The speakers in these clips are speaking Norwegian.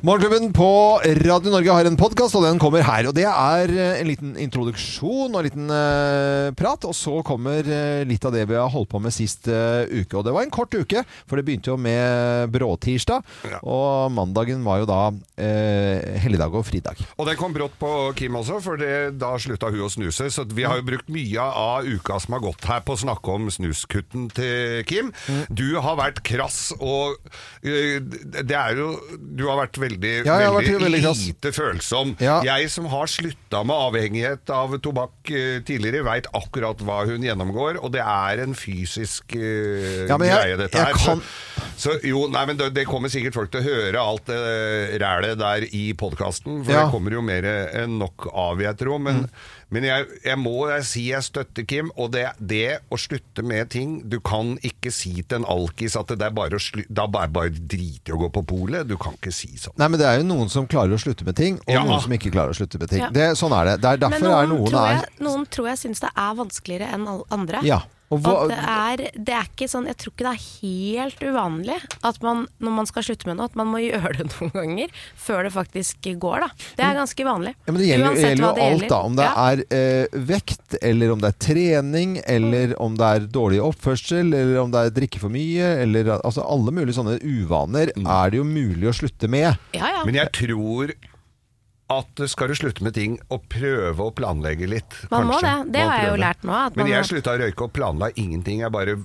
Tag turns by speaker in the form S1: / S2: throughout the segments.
S1: Morgenklubben på Radio Norge har en podkast, og den kommer her. Og Det er eh, en liten introduksjon og en liten eh, prat, og så kommer eh, litt av det vi har holdt på med sist eh, uke. Og det var en kort uke, for det begynte jo med bråtirsdag, og mandagen var jo da eh, helligdag og fridag.
S2: Og det kom brått på Kim også, for det, da slutta hun å snuse. Så vi har jo brukt mye av uka som har gått her på å snakke om snuskutten til Kim.
S1: Mm.
S2: Du har vært krass og øh, Det er jo Du har vært veldig,
S1: Ja, jeg har vært
S2: veldig,
S1: veldig krass.
S2: lite følsom.
S1: Ja.
S2: Jeg som har slutta med avhengighet av tobakk øh, tidligere, veit akkurat hva hun gjennomgår, og det er en fysisk øh,
S1: Ja, men jeg-
S2: greie, dette
S1: jeg
S2: her.
S1: kan-
S2: Så, så jo, nei, men det, det kommer sikkert folk til å høre alt det eh, rælet der i podkasten, for
S1: Ja.
S2: det kommer jo mer eh, enn nok av, jeg tror. Men, men jeg, jeg må jeg si jeg støtter Kim, og det, det å slutte med ting Du kan ikke si til en alkis at det er bare å slu, da bare, bare drite i å gå på polet. Du kan ikke si sånn.
S1: Nei, men Det er jo noen som klarer å slutte med ting, og
S2: Ja.
S1: noen som ikke klarer å slutte med ting.
S3: Ja.
S1: Det, sånn er det. Det er derfor
S3: Men
S1: er noen
S3: tror
S1: er
S3: jeg, noen tror jeg syns det er vanskeligere enn alle andre.
S1: Ja, og hva-
S3: at det er, det er ikke sånn, jeg tror ikke det er helt uvanlig at man, når man skal slutte med noe, at man må gjøre det noen ganger før det faktisk går. da. Det er ganske vanlig.
S1: Ja, men det gjelder,
S3: Uansett
S1: gjelder jo
S3: hva det
S1: alt,
S3: gjelder.
S1: da. Om det
S3: Ja.
S1: er eh, vekt, eller om det er trening, eller
S3: Mm.
S1: om det er dårlig oppførsel, eller om det er drikke for mye, eller altså alle mulige sånne uvaner er det jo mulig å slutte med.
S3: ja, ja.
S2: Men jeg tror at skal du slutte med ting, og prøve å planlegge litt.
S3: Man må
S2: kanskje.
S3: det. Det
S2: Må
S3: har jeg jo
S2: prøve.
S3: lært nå, at
S2: Men
S3: man-
S2: jeg slutta å røyke og planla ingenting. Jeg bare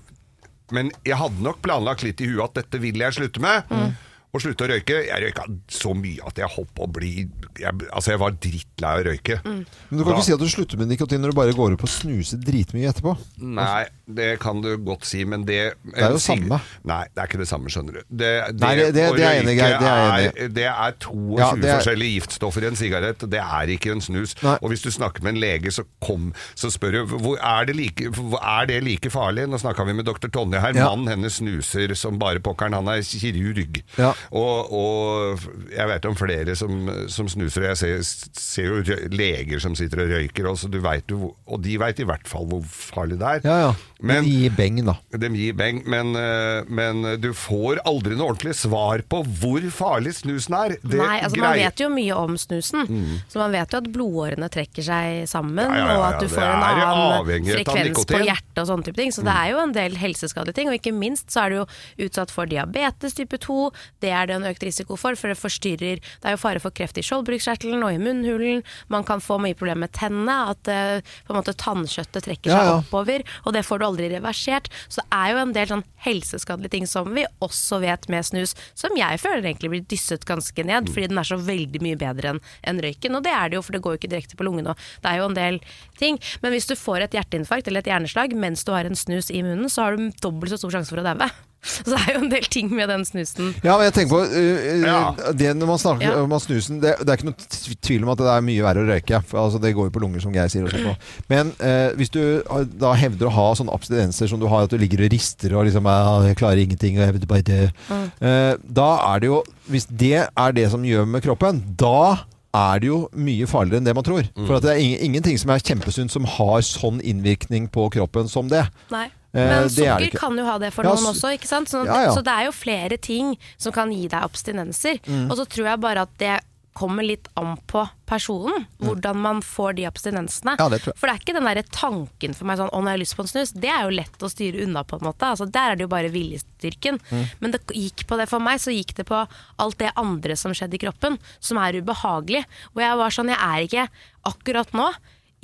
S2: Men jeg hadde nok planlagt litt i huet at dette vil jeg slutte med.
S3: Mm.
S2: Og slutte å røyke. Jeg røyka så mye at jeg holdt på å bli jeg, Altså, jeg var drittlei av å røyke.
S3: Mm.
S1: Men du kan
S2: Da-
S1: ikke si at du slutter med nikotin når du bare går opp og snuser dritmye etterpå.
S2: Nei, det kan du godt si, men det Det
S1: er jo samme.
S2: Nei, det er ikke det samme, skjønner du. Det,
S1: Nei, det- det- det er jeg enig i, Geir. Det er jeg enig
S2: i. Det er 22
S1: Ja, det er-
S2: forskjellige giftstoffer i en sigarett. Det er ikke en snus.
S1: Nei.
S2: Og hvis du snakker med en lege, så, kom, så spør du hvor er, det like, hvor er det like farlig? Nå snakka vi med dr. Tonje her.
S1: Ja.
S2: Mannen hennes snuser som bare pokkeren. Han er kirurg.
S1: Ja.
S2: Og, og jeg vet om flere som, som snuser. og Jeg ser, ser jo rø- leger som sitter og røyker også. Du vet jo, hvor- og de veit i hvert fall hvor farlig det er.
S1: Ja, ja. Men
S2: Men
S1: gi beng, da.
S2: de gir beng, men, eh, men du får aldri noe ordentlig svar på hvor farlig snusen er. Det
S3: Nei, altså Man
S2: grei-
S3: vet jo mye om snusen, så man vet jo at blodårene trekker seg sammen,
S2: Ja, ja, ja,
S3: og
S2: ja,
S3: at du
S2: det
S3: får en
S2: er
S3: annen
S2: avhengighet av
S3: frekvens på
S2: nikotin. Mm.
S3: hjertet og sånne type ting. Så det er jo en del helseskadelige ting, og ikke minst så er du jo utsatt for diabetes type 2. Det er det en økt risiko for, for det forstyrrer Det er jo fare for kreft i skjoldbruskkjertelen og i munnhulen. Man kan få mye problemer med tennene, at eh, på en måte tannkjøttet trekker
S1: Ja,
S3: seg
S1: ja.
S3: oppover, og det får du aldri reversert. Så det er jo en del sånn helseskadelige ting som vi også vet med snus, som jeg føler egentlig blir dysset ganske ned, fordi den er så veldig mye bedre enn enn røyken. Og det er det jo, for det går jo ikke direkte på lungene, og det er jo en del ting. Men hvis du får et hjerteinfarkt eller et hjerneslag mens du har en snus i munnen, så har du dobbelt så stor sjanse for å daue. Så det er jo en del ting med den snusen.
S1: Ja, men jeg tenker på øh, øh,
S2: Ja.
S1: det Når man snakker
S3: Ja.
S1: om at snusen det, det er ikke noe tv- tvil om at det er mye verre å røyke. For, altså, det går jo på lunger, som Geir sier. Også på. Men øh, hvis du har- da hevder å ha sånne abstinenser som du har, at du ligger og rister og liksom «Ja, 'Jeg klarer ingenting', og jeg vil bare dø Eh, Da er det jo Hvis det er det som gjør med kroppen, da er det jo mye farligere enn det man tror. For at det er ing ingenting som er kjempesunt som har sånn innvirkning på kroppen som det.
S3: Nei.
S1: Eh,
S3: Men
S1: det er det
S3: sukker
S1: ikke.
S3: kan jo ha det for
S1: Ja,
S3: noen
S1: s-
S3: også, ikke sant? Sånn, at-
S1: Ja, ja.
S3: Så det er jo flere ting som kan gi deg abstinenser.
S1: Mm.
S3: Og så tror jeg bare at det kommer litt an på personen, hvordan man får de abstinensene.
S1: Mm. Ja, det tror jeg.
S3: For det er ikke den der tanken for meg sånn 'å, nå har jeg lyst på en snus'. Det er jo lett å styre unna, på en måte. Altså, der er det jo bare viljestyrken. Men det gikk på det for meg, så gikk det på alt det andre som skjedde i kroppen, som er ubehagelig. Og jeg var sånn, jeg er ikke akkurat nå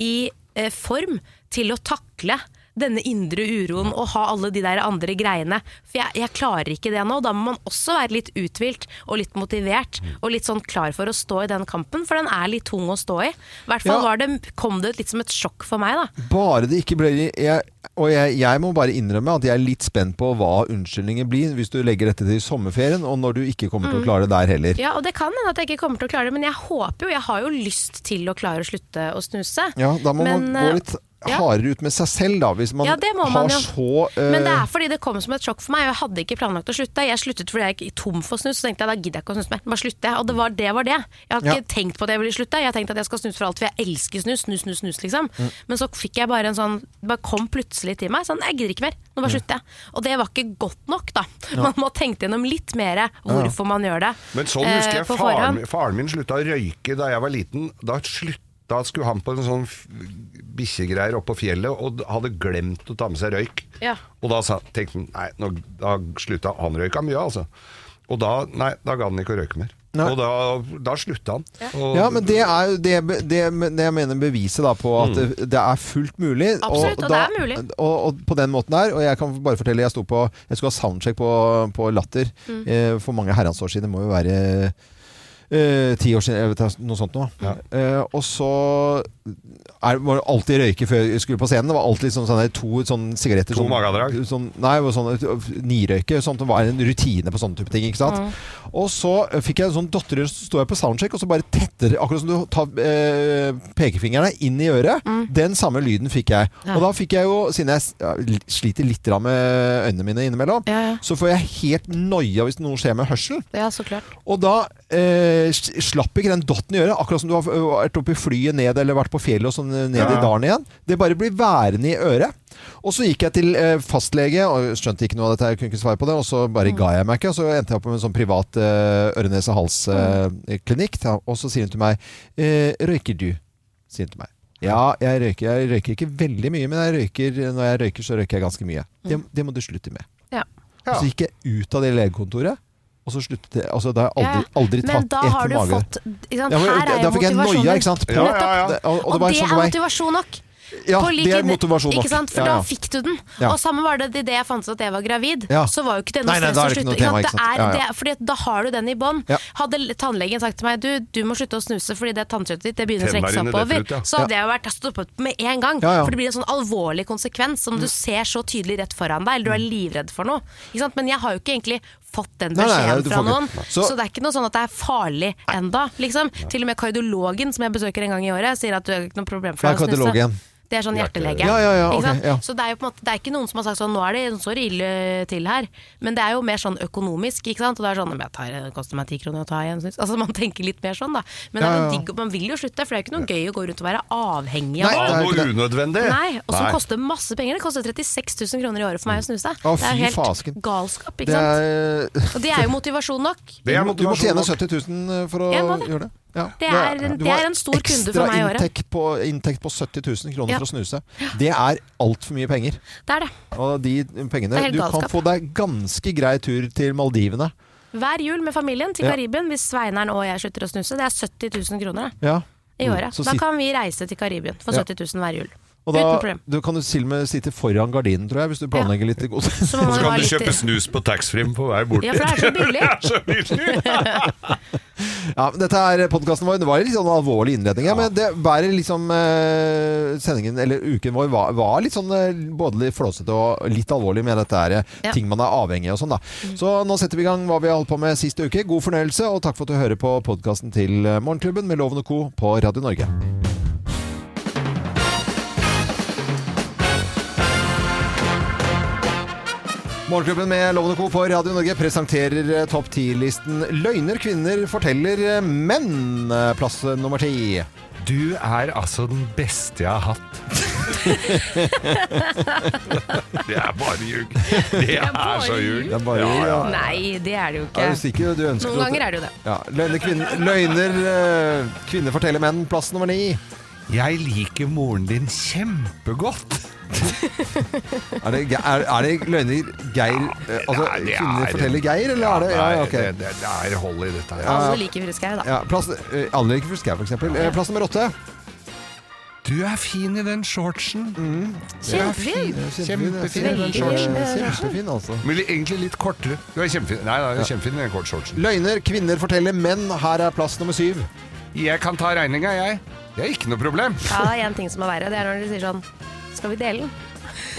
S3: i eh, form til å takle denne indre uroen og ha alle de der andre greiene. For jeg, jeg klarer ikke det nå. Da må man også være litt uthvilt og litt motivert og litt sånn klar for å stå i den kampen, for den er litt tung å stå i. I hvert
S1: Ja.
S3: fall var det, kom det litt som et sjokk for meg, da.
S1: Bare det ikke blir jeg, Og jeg, jeg må bare innrømme at jeg er litt spent på hva unnskyldningen blir hvis du legger dette til sommerferien, og når du ikke kommer til å klare det der heller.
S3: Mm. Ja, og det kan hende at jeg ikke kommer til å klare det, men jeg håper jo, jeg har jo lyst til å klare å slutte å snuse.
S1: Ja, da må
S3: men,
S1: man gå
S3: eh,
S1: litt
S3: Ja.
S1: hardere ut med seg selv, da, hvis man,
S3: Ja, det må man
S1: har
S3: jo.
S1: så eh,
S3: Men det er fordi det kom som et sjokk for meg. og Jeg hadde ikke planlagt å slutte. Jeg sluttet fordi jeg gikk tom for snus. Så tenkte jeg da gidder jeg ikke å snuse mer. Bare slutter jeg. Og det var det. var det Jeg hadde
S1: Ja.
S3: ikke tenkt på at jeg ville slutte. Jeg har tenkt at jeg skal snuse for alt, for jeg elsker snus. Snus, snus, snus, liksom.
S1: Mm.
S3: Men så fikk jeg bare en sånn Det bare kom plutselig til meg. Sånn, jeg gidder ikke mer.
S1: Mm.
S3: Nå bare slutter jeg. Og det var ikke godt nok, da. Man må tenke gjennom litt mer hvorfor man gjør det.
S2: Men sånn husker
S3: eh,
S2: jeg
S3: på
S2: faren,
S3: forhånd.
S2: faren min slutta å røyke da jeg var liten. Da slutta da skulle han på en sånn f- bikkjegreier oppå fjellet og d- hadde glemt å ta med seg røyk.
S3: Ja.
S2: Og da sa, tenkte han nei, nå, da slutta han røyka mye, altså. Og da, nei, da ga han ikke å røyke mer.
S1: Nei.
S2: Og da, da slutta han. Og,
S1: Ja, men det er jo det, det, det jeg mener beviset da på at
S2: Mm.
S1: det, det er fullt mulig.
S3: Absolutt, og
S1: da-
S3: det er mulig.
S1: Og, og på den måten der, og jeg kan bare fortelle, jeg sto på, jeg skulle ha soundcheck på, på Latter
S3: Mm.
S1: eh, for mange herrens år siden, det må jo være eh, ti år siden, jeg vet, ikke, noe sånt nå. Eh, og så er, var det alltid røyke før jeg skulle på scenen, det var alltid liksom sånne to sånne sigaretter.
S2: To
S1: sånn-
S2: magadrag.
S1: Sånn, nei, det var sånn nirøyke, sånt, det var en rutine på sånne type ting, ikke sant?
S3: Mm.
S1: Og så eh, fikk jeg en sånn dotter, så står jeg på soundcheck, og så bare tetter, akkurat som du tar eh, pekefingrene inn i øret, den samme lyden fikk jeg.
S3: Mm. Ja.
S1: Og da fikk jeg jo, siden jeg s- ja, l- sliter litt grann med øynene mine innimellom,
S3: Ja, ja.
S1: så får jeg helt noia hvis noe skjer med hørselen.
S3: Ja, så klart.
S1: Og da eh, s- slapp ikke den dotten i øret, akkurat som du har ø, vært oppe i flyet ned, eller vært på fjellet og sånn ø, ned
S2: Ja.
S1: i dalen igjen. Det bare blir værende i øret. Og så gikk jeg til eh, fastlege, og skjønte ikke noe av dette, jeg kunne ikke svare på det, og så bare ga jeg meg ikke, og så endte jeg opp med en sånn privat eh, øre-nese-hals-klinikk, og så sier hun til meg, eh, røyker du? Sier hun til meg. Ja, jeg røyker, jeg røyker ikke veldig mye, men jeg røyker, når jeg røyker, så røyker jeg ganske mye. Det, det må du slutte med.
S3: Ja.
S2: Ja.
S1: Og så gikk jeg ut av det legekontoret, og så sluttet jeg altså, Da har jeg aldri,
S3: Ja, ja.
S1: aldri
S3: Men
S1: tatt
S3: da
S1: ett
S3: har du
S1: mage.
S3: fått ikke sant,
S1: Ja, men
S3: Her er
S1: da
S3: jo
S1: fikk jeg
S3: motivasjonen.
S1: noia, ikke sant?
S2: Ja, ja, ja.
S1: Det- og- og det
S3: Og
S1: var
S3: det
S1: sånn
S3: er
S1: på vei.
S3: motivasjon nok.
S1: Ja,
S3: På lik
S1: det er
S3: linje-
S1: motivasjon nok.
S3: Ikke sant? For
S1: Ja, ja.
S3: da fikk du den.
S1: Ja.
S3: Og samme var det idet jeg fant ut at jeg var gravid.
S1: Ja.
S3: Så var jo ikke det noe
S1: Nei, nei,
S3: stress
S1: da er
S3: å
S1: det ikke
S3: slutte.
S1: noe tema,
S3: sant?
S1: ikke sant?
S3: Det er
S1: Ja, ja.
S3: det- fordi at da har du den i bånn.
S1: Ja.
S3: Hadde l- tannlegen sagt til meg du, du må slutte å snuse fordi det tannkjøttet ditt det begynner å
S2: Tennene
S3: trekke seg
S2: dine detter
S3: oppover,
S2: ut, ja.
S3: så hadde jeg jo vært stoppet med en gang.
S1: Ja, Mm. ja.
S3: For det blir en sånn alvorlig konsekvens som du ser så tydelig rett foran deg, eller du er livredd for noe. Ikke sant? Men jeg har jo ikke egentlig fått den
S1: Mm. Nei, nei, nei,
S3: beskjeden
S1: du
S3: fra
S1: får ikke-
S3: noen.
S1: Så-
S3: Så, det er ikke noe sånn at det er farlig enda, liksom. Til og med kardiologen som jeg besøker en gang i året, sier at du har ikke noe problem for
S1: Hva er
S3: deg å snuse.
S1: kardiologen?
S3: Det er sånn hjertelege.
S1: Ja, ja, ja,
S3: Ikke
S1: ok,
S3: sant?
S1: ja.
S3: Så det er jo på en måte, det er ikke noen som har sagt sånn, nå er det så ille til her. Men det er jo mer sånn økonomisk, ikke sant. Og det er sånn, men jeg tar, det koster meg ti kroner å ta igjen. synes jeg. Altså man tenker litt mer sånn da. Men det er
S1: Ja, ja,
S3: noe
S1: ja.
S3: digg, man vil jo slutte, for det er jo ikke noe gøy å gå rundt og være avhengig
S1: Nei,
S3: av
S1: det er
S2: Ja,
S1: jo ikke
S2: noe unødvendig.
S3: Nei, og som
S2: Nei.
S3: koster masse penger. Det koster 36 000 kroner i året for meg å snuse.
S1: Mm. Å,
S3: det
S1: fy
S3: er jo helt
S1: fasken.
S3: galskap,
S1: Det
S3: ikke sant.
S1: er,
S3: Og det er jo motivasjon nok.
S2: Det er
S1: du, må, du må
S2: motivasjon
S1: tjene
S2: nok.
S1: 70 000 for å
S3: Jeg må det.
S1: gjøre det. Ja.
S3: Det er en-
S1: Du
S3: det
S1: må
S3: er en stor kunde for meg i året.
S1: Ekstra inntekt på, inntekt på 70 000 kroner
S3: Ja.
S1: for å snuse. Det er altfor mye penger.
S3: Det er det.
S1: Og de
S3: Det er
S1: pengene
S3: helt
S1: Du kan
S3: galskap.
S1: få deg ganske grei tur til Maldivene.
S3: Hver jul med familien til
S1: Ja.
S3: Karibien hvis Sveineren og jeg slutter å snuse. Det er 70 000 kroner da,
S1: Ja.
S3: i året.
S1: Mm, Så
S3: Da
S1: sit-
S3: kan vi reise til Karibien for
S1: Ja.
S3: 70 000 hver jul.
S1: Og da
S3: Uten problem.
S1: du kan du til og med sitte foran gardinen, tror jeg, hvis du planlegger litt i god
S3: Så
S2: Så
S3: må man ha
S2: kan du
S3: litt
S2: kjøpe snus på taxfree på vei bort.
S3: Ja, for det er så billig.
S2: så billig.
S1: Ja, men dette er podkasten vår. Det var en litt sånn alvorlig innledning, ja. men det bærer liksom eh, Sendingen, eller uken vår, var, var litt sånn eh, både litt flåsete og litt alvorlig med dette her, eh,
S3: Ja. Mm.
S1: ting man er avhengig av og sånn, da. Så nå setter vi i gang hva vi har holdt på med sist uke. God fornøyelse, og takk for at du hører på podkasten til eh, Morgenklubben med Loven og Co. på Radio Norge. Morgenklubben med Loven og Co. på Radio Norge presenterer eh, topp 10-listen Løgner kvinner forteller eh, menn. Eh, Plass eh, nummer ti.
S2: Du er altså den beste jeg har hatt. det er bare ljug. Det
S3: bare
S2: er så ljug.
S1: Det er bare
S2: Ja, ja.
S3: Nei, det er det jo
S1: Er
S3: ikke.
S1: du sikker? Du ønsker
S3: Noen
S1: at-
S3: ganger er det jo det.
S1: Ja, løgner, kvinner, løgner eh, kvinner forteller menn. Plass nummer ni.
S2: Jeg liker moren din kjempegodt.
S1: Er det, ge- er, er det løgner Geir eh, Altså
S2: Nei, det
S1: kvinner
S2: er-
S1: forteller Geir, eller er det Ja, ja,
S2: Nei,
S1: ok.
S2: det, det, det er hold i dette her.
S3: Alle liker Fru Skau, da.
S1: Ja, plass, eh, Anne Rikke Fuskau, for eksempel. Eh, Plass nummer åtte.
S2: Du er fin i den shortsen.
S3: Kjempefin!
S1: Eh,
S2: Kjempefin,
S1: eh,
S3: den shortsen.
S1: eh, Kjempefin, altså.
S2: Men li- egentlig litt kortere. Du er kjempefin. Nei, nei, du er kjempefin i den korte shortsen.
S1: Løgner kvinner forteller menn. Her er plass nummer syv.
S2: Jeg kan ta regninga, jeg. Det er ikke noe problem.
S3: Ja, det er én ting som er verre. Det er når de sier sånn Skal vi dele den?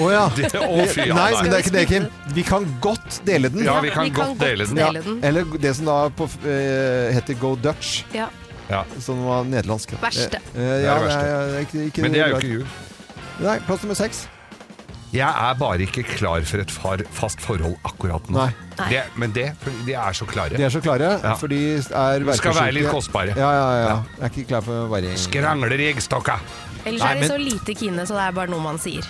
S1: Å ja.
S2: Det- å, fy, ja,
S1: Nei,
S2: nei.
S1: men det er ikke det, Kim. Vi kan godt dele den.
S2: Ja, vi kan godt dele den.
S1: Ja,
S3: den.
S1: Eller det som da på, eh, heter Go Dutch,
S3: Ja.
S2: Ja.
S1: som var nederlandsk.
S3: Verste.
S1: Eh, eh, ja,
S2: Det er det verste.
S1: nei, ja, det er ikke, ikke
S2: Men det er jo ikke ljug.
S1: Nei, plass nummer seks.
S2: Jeg er bare ikke klar for et far, fast forhold akkurat nå.
S1: Nei.
S3: Nei.
S2: Det, men det, de er så klare.
S1: De er så klare,
S2: Ja.
S1: for de er
S2: De skal være
S1: verkesyke.
S2: litt kostbare.
S1: Ja, ja, ja. Jeg er ikke klar for varing.
S2: Skrangler i eggstokka.
S3: Ellers
S1: Nei,
S3: er de
S1: men-
S3: så lite kine, så det er bare noe man sier.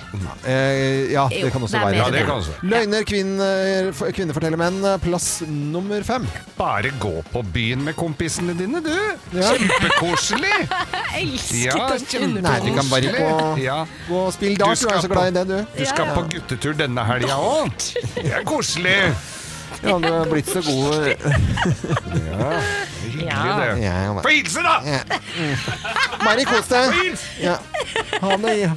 S1: Eh, ja, det
S3: Jo,
S1: kan også
S3: det er
S1: være.
S3: mer
S2: Ja, det kan også være.
S1: Løgner, kvinner, f- kvinner forteller menn. eh, Plass nummer fem.
S2: Bare gå på byen med kompisene dine, du.
S1: Ja.
S2: Kjempekoselig.
S3: Jeg elsker
S2: Ja,
S3: den
S2: kjempe-
S1: Nei, du
S3: undertonen.
S1: kan bare gå,
S2: Ja.
S1: gå og spille dart,
S2: Du
S1: du, er
S2: skal
S1: så glad i det, du.
S2: Du skal på guttetur denne helga òg. Det er koselig.
S1: Ja, du har blitt så god
S2: Hyggelig, det.
S1: ja, ja.
S2: Få hilse, da!
S1: Mari, kos deg!
S2: Hils!
S1: Ja. Ha det. Ja,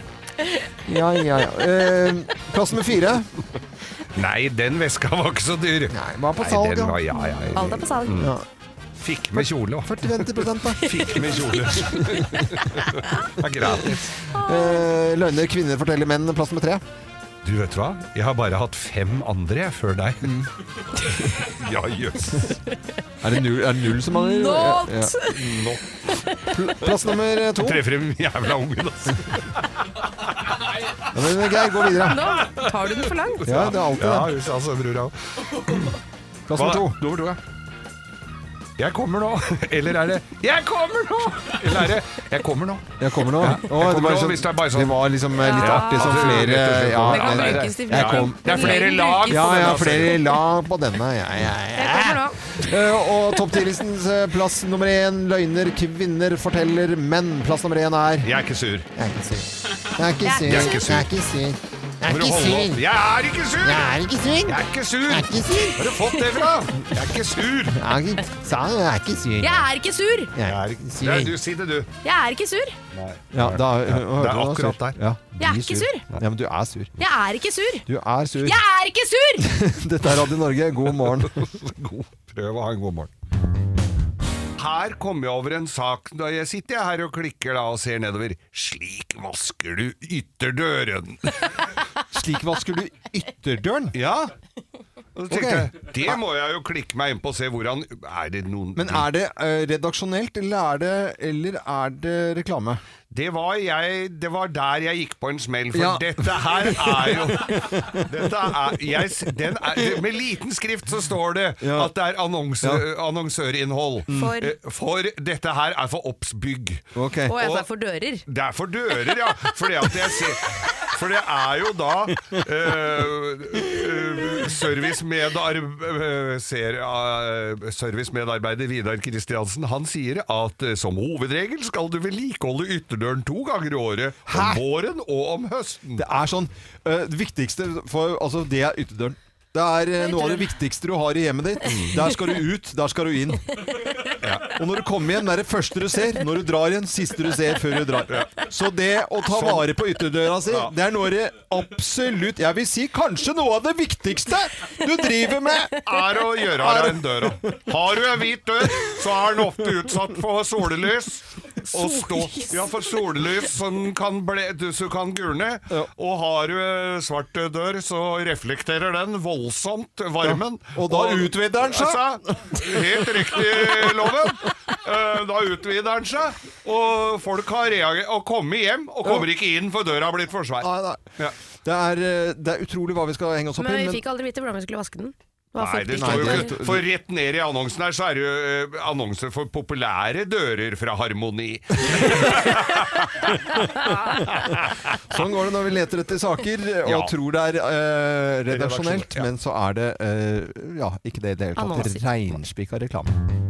S1: ja, ja. ja. Eh, plass nummer fire.
S2: Nei, den veska var ikke så dyr.
S1: Nei, var på
S2: Nei,
S1: salg,
S2: den
S1: ja.
S2: var, ja, ja.
S3: Alt er på salg.
S1: ja.
S2: Fikk med kjole òg.
S1: 40-50 da.
S2: Fikk med kjole. Det er gratis.
S1: Eh, løgner, kvinner forteller menn. Plass nummer tre.
S2: Du vet du hva? Jeg har bare hatt fem andre jeg, før deg.
S1: Mm.
S2: ja, jøss.
S1: Er det null, som mangler?
S3: Not!
S2: Nå
S1: Plass nummer to.
S2: treffer de jævla ungen, altså.
S1: Ja, men Geir, gå videre.
S3: Nå tar du det for langt.
S1: Ja, det er alltid
S2: Ja,
S1: det.
S2: just, altså, bror, ja.
S1: Plass nummer to.
S2: Nummer to, ja. Jeg kommer nå. Eller er det 'Jeg kommer nå'? Eller er det 'Jeg kommer nå'?
S1: Jeg kommer nå. Å,
S2: kommer
S1: var
S2: nå,
S1: sånn-
S2: hvis det er bare sånn-
S1: det var liksom eh, litt
S3: Ja.
S1: artig som
S2: Ja,
S1: flere
S2: rett og slett.
S1: ja,
S2: Det kan
S1: nei, nei,
S3: brukes
S1: jeg
S3: til flere.
S1: kom,
S2: Det er flere
S3: Legg
S2: lag.
S3: brukes.
S1: Ja,
S2: på den,
S1: ja,
S2: altså.
S1: flere lag på denne. Ja, ja,
S3: Jeg kommer
S1: ja.
S3: nå.
S1: Eh, Og topp 10-listens eh, plass nummer én løgner, kvinner forteller menn. Plass nummer én er
S2: Jeg er ikke sur.
S1: Jeg er ikke sur. Jeg er ikke sur.
S2: Jeg er ikke sur.
S1: Jeg er ikke sur. Jeg
S2: Må
S1: er
S2: du
S1: ikke
S2: holde
S1: sur.
S2: opp? Jeg er ikke sur!
S1: Jeg er ikke sur. Jeg
S2: Jeg er ikke sur!
S1: er ikke sur.
S2: Hvor har du fått det fra? Jeg er ikke sur!
S1: Jeg er ikke- Sa han, jeg er ikke sur.
S3: Jeg er ikke sur!
S1: Jeg
S2: Jeg
S1: er
S2: er
S1: ikke
S2: ikke...
S1: sur.
S2: Nei, du, si det, du.
S3: Jeg er ikke sur!
S1: Ja, da,
S2: Ja, det er
S1: hørte du da, sur.
S2: akkurat der.
S1: Ja,
S3: Jeg er
S1: blir
S3: ikke sur.
S1: Ja, men du er sur.
S3: Jeg er ikke sur!
S1: Du er sur.
S3: Jeg er ikke sur!
S1: Dette er Radio Norge, god morgen.
S2: God, prøv å ha en god morgen. Her kom jeg over en sak da jeg sitter her og klikker da og ser nedover. Slik vasker du ytterdøren.
S1: Slik vasker du ytterdøren.
S2: Ja. Og så
S1: Ok.
S2: tenkte jeg, det må jeg jo klikke meg inn på og se hvordan Er det noen
S1: Men er det eh, redaksjonelt, eller er det, eller er det reklame?
S2: Det var, jeg, det var der jeg gikk på en smell, for
S1: Ja.
S2: dette her er jo dette er, jeg, s- den er, det- Med liten skrift så står det
S1: Ja.
S2: at det er annonse, annonsørinnhold.
S3: For-
S2: Eh, for dette her er for oppsbygg.
S1: Ok.
S3: Å, jeg
S2: Og-
S3: sa for dører.
S2: Det er for dører, ja. Fordi at jeg ser for det er jo da eh, eh, servicemedarb- eh, ser- eh, servicemedarbeider Vidar Kristiansen Han sier at eh, som hovedregel skal du vedlikeholde ytterdøren to ganger i året.
S1: Hæ?
S2: Om våren og om høsten.
S1: Det er sånn eh, Det viktigste for Altså, det er ytterdøren. Det er eh, noe av det viktigste du har i hjemmet ditt. Der skal du ut, der skal du inn. Og når du kommer hjem, det er det første du ser. Når du drar igjen, siste du ser før du drar. Så det å ta vare på ytterdøra si, det er noe av det absolutt Jeg vil si kanskje noe av det viktigste du driver med.
S2: Er å gjøre av den døra. Har du en hvit dør, så er den ofte utsatt for sollys. Og stå, ja, for sollys som kan, ble, du- så kan gulne. Og har du eh, svart dør, så reflekterer den voldsomt varmen.
S1: Ja, og da utvider den seg.
S2: Altså, Helt riktig, Loven. Eh, Da utvider den seg. Og folk har reagert og kommet hjem, og kommer ikke inn, for døra har blitt for svær.
S1: Nei, nei.
S2: Ja.
S1: Det er, eh, det er utrolig hva vi skal henge oss opp i.
S3: Men vi fikk aldri vite hvordan vi skulle vaske den. Det var
S2: Nei, Altså, det
S1: Nei,
S2: står jo
S1: det-
S2: ikke For rett ned i annonsen her så er det jo eh, annonser for populære dører fra Harmoni.
S1: Sånn går det når vi leter etter saker og
S2: Ja.
S1: tror det er eh, redaksjonelt,
S2: Redaksjonelt, ja.
S1: men så er det eh, ja, ikke det i det hele tatt.
S3: Annonser.
S1: Reinspikka reklame.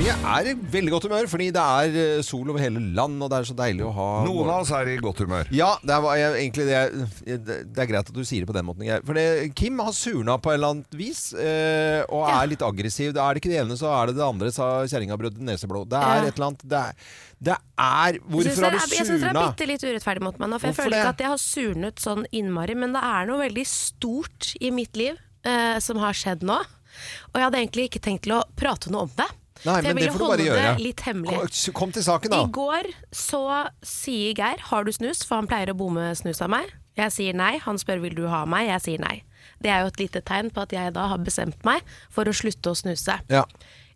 S1: Vi er i veldig godt humør fordi det er eh, sol over hele land, og det er så deilig å ha
S2: Noen av oss er i godt humør.
S1: ja, det er, hva jeg- egentlig det, jeg- det er greit at du sier det på den måten. Geir. For det, Kim har surna på et eller annet vis, eh, og
S3: Ja.
S1: er litt aggressiv. Da er det ikke det ene, så er det det andre, sa kjerringa brød neseblod. Det er
S3: Ja.
S1: et eller annet Det er, det er
S3: Jeg
S1: Hvorfor
S3: synes
S1: har du
S3: det er- Jeg syns dere er
S1: surna?
S3: bitte litt urettferdig mot meg nå, for jeg
S1: Hvorfor
S3: føler
S1: det?
S3: ikke at jeg har surnet sånn innmari, men det er noe veldig stort i mitt liv eh, som har skjedd nå. Og jeg hadde egentlig ikke tenkt til å prate noe om det.
S1: Nei,
S3: for jeg
S1: men det
S3: ville
S1: får du bare
S3: holde
S1: gjøre.
S3: det litt hemmelig.
S1: Kom, kom til saken, da.
S3: I går så sier Geir 'har du snus', for han pleier å bomme snus av meg. Jeg sier nei, han spør 'vil du ha meg', jeg sier nei. Det er jo et lite tegn på at jeg da har bestemt meg for å slutte å snuse.
S1: Ja.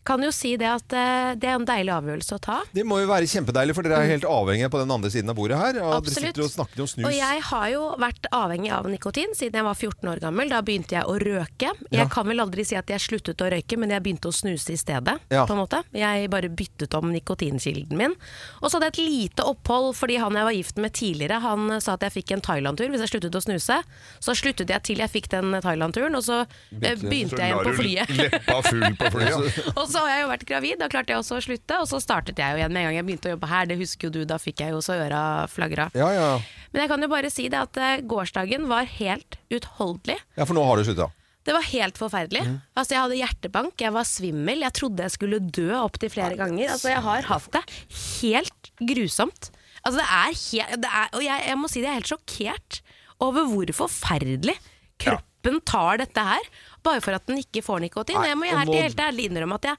S3: kan jo si det at eh, det er en deilig avgjørelse å ta.
S1: Det må jo være kjempedeilig, for dere er helt avhengige på den andre siden av bordet her. Og dere
S3: Mm. Absolutt.
S1: sitter og snakker om snus.
S3: Og jeg har jo vært avhengig av nikotin siden jeg var 14 år gammel. Da begynte jeg å røyke. Jeg
S1: Ja.
S3: kan vel aldri si at jeg sluttet å røyke, men jeg begynte å snuse i stedet.
S1: Ja.
S3: på en måte. Jeg bare byttet om nikotinkilden min. Og så hadde jeg et lite opphold fordi han jeg var gift med tidligere, han eh, sa at jeg fikk en Thailand-tur hvis jeg sluttet å snuse. Så sluttet jeg til jeg fikk den eh, Thailand-turen, og så eh, begynte jeg igjen på flyet.
S2: leppa full på flyet.
S3: Og så har jeg jo vært gravid, da klarte jeg også å slutte, og så startet jeg jo igjen med en gang jeg begynte å jobbe her. Det husker jo du, da fikk jeg jo så øra flagra.
S1: Ja, ja.
S3: Men jeg kan jo bare si det at eh, gårsdagen var helt utholdelig.
S1: ja, for nå har du slutta.
S3: Det var helt forferdelig.
S1: Mm.
S3: Altså Jeg hadde hjertebank, jeg var svimmel, jeg trodde jeg skulle dø opptil flere ganger. Altså Jeg har hatt det helt grusomt. Altså det er he- det er, Og jeg, jeg må si det, jeg er helt sjokkert over hvor forferdelig kroppen tar dette her. Bare for at den ikke får nikotin.
S1: Nei,
S3: jeg må
S1: og
S3: helt,
S1: nå-
S3: helt ærlig innrømme at jeg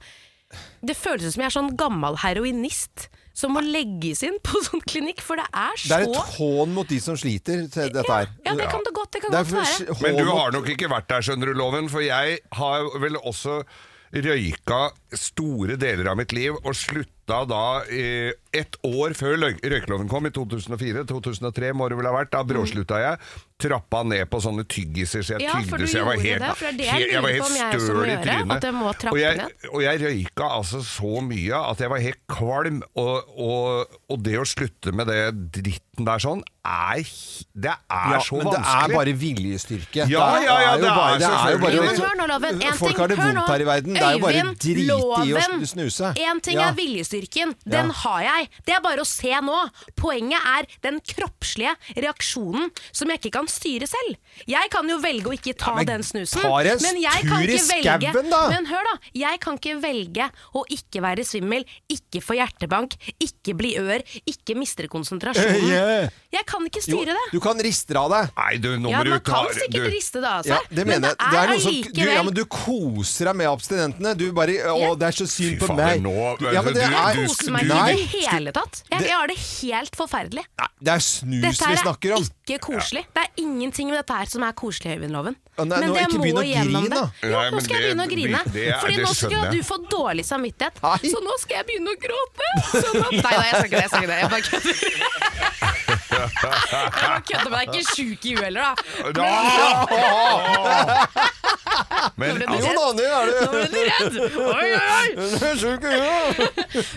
S3: det føles som jeg er sånn gammel heroinist som må legges inn på sånn klinikk, for det er
S1: Det
S3: så
S1: er et hån mot de som sliter, til dette her.
S3: ja, det kan det godt, det kan
S1: Det er
S3: godt være.
S1: for-
S2: Men du
S1: hån mot-
S2: har nok ikke vært der, skjønner du, Loven, for jeg har vel også røyka store deler av mitt liv og slutta da eh, ett år før løy- røykeloven kom, i 2004-2003 må det vel ha vært. Da bråslutta jeg. Trappa ned på sånne tyggiser, så jeg
S3: Ja, for
S2: tygde
S3: du
S2: så jeg var
S3: gjorde
S2: helt,
S3: det, for det er det jeg
S2: helt, jeg var
S3: lurer
S2: helt
S3: på om jeg også må
S2: støl i
S3: gjøre, at
S2: trynet.
S3: jeg må trappe
S2: Og jeg,
S3: ned.
S2: og jeg røyka altså så mye at jeg var helt kvalm, og, og, og det å slutte med det dritten der sånn, er, hi- det er
S1: Ja,
S2: så
S1: men
S2: vanskelig.
S1: det er bare viljestyrke.
S2: Ja, ja, ja,
S1: det er jo
S2: det er
S1: bare, det er jo
S2: selvfølgelig.
S1: bare
S3: Jo, men hør nå, Loven. En
S1: Folk
S3: ting,
S1: har det
S3: hør nå.
S1: vondt her i verden. Det er jo bare
S3: Øyvind,
S1: drit i å
S3: Loven,
S1: sn- snuse.
S3: En ting
S1: Ja.
S3: er viljestyrken. Den
S1: Ja.
S3: har jeg. Det er bare å se nå. Poenget er den kroppslige reaksjonen som jeg ikke kan styre selv. Jeg kan jo velge å ikke ta
S1: men
S3: den snusen.
S1: tar en
S3: men jeg
S1: tur
S3: kan
S1: i
S3: ikke velge
S1: skauen, da.
S3: Men hør, da. Jeg kan ikke velge å ikke være svimmel, ikke få hjertebank, ikke bli ør, ikke miste konsentrasjonen.
S1: Eh, yeah.
S3: Jeg kan ikke
S1: Jo,
S3: styre det.
S1: Du kan riste av deg.
S2: Nei, du, nå
S3: Ja,
S2: må du
S3: man
S2: ta
S3: kan sikkert
S2: du-
S3: riste det av seg,
S1: Ja, det mener jeg.
S3: Altså, men det er
S1: noe som- du,
S3: allikevel
S1: ja, men du koser deg med abstinentene. Du bare Å, det er så synd
S2: Fy
S1: på
S2: faen,
S1: meg.
S2: nå-
S1: Ja, men det
S2: du-
S1: er,
S3: Jeg koser meg ikke
S1: nei,
S3: i det hele tatt. Jeg, jeg har det helt forferdelig.
S1: nei, det er snus
S3: Dette
S1: vi
S3: her
S1: snakker
S3: er
S1: om.
S3: ikke koselig. Det er ingenting med dette her som er koselig, Øyvind-loven.
S1: Ja, nei, nå, ikke begynn å grine, da.
S3: Jo,
S2: Nei,
S3: nå
S2: men
S3: skal jeg
S2: det-
S3: begynne å grine.
S2: det- det er-
S3: Fordi
S2: det
S3: nå skal
S2: skjønner
S3: du
S2: jeg.
S3: få dårlig samvittighet.
S1: Nei.
S3: Så nå skal jeg begynne å gråte. Sånn at, nei da, jeg skal ikke det. Jeg skal ikke det. Jeg bare kødder. Jeg bare kødder, men jeg er ikke sjuk i huet heller, da.
S2: Men
S3: Nå ble
S1: Jo
S2: altså,
S1: da, det er
S3: Nå
S1: det.
S3: ble du redd. Oi, oi, oi.
S1: Hun er sjuk i huet.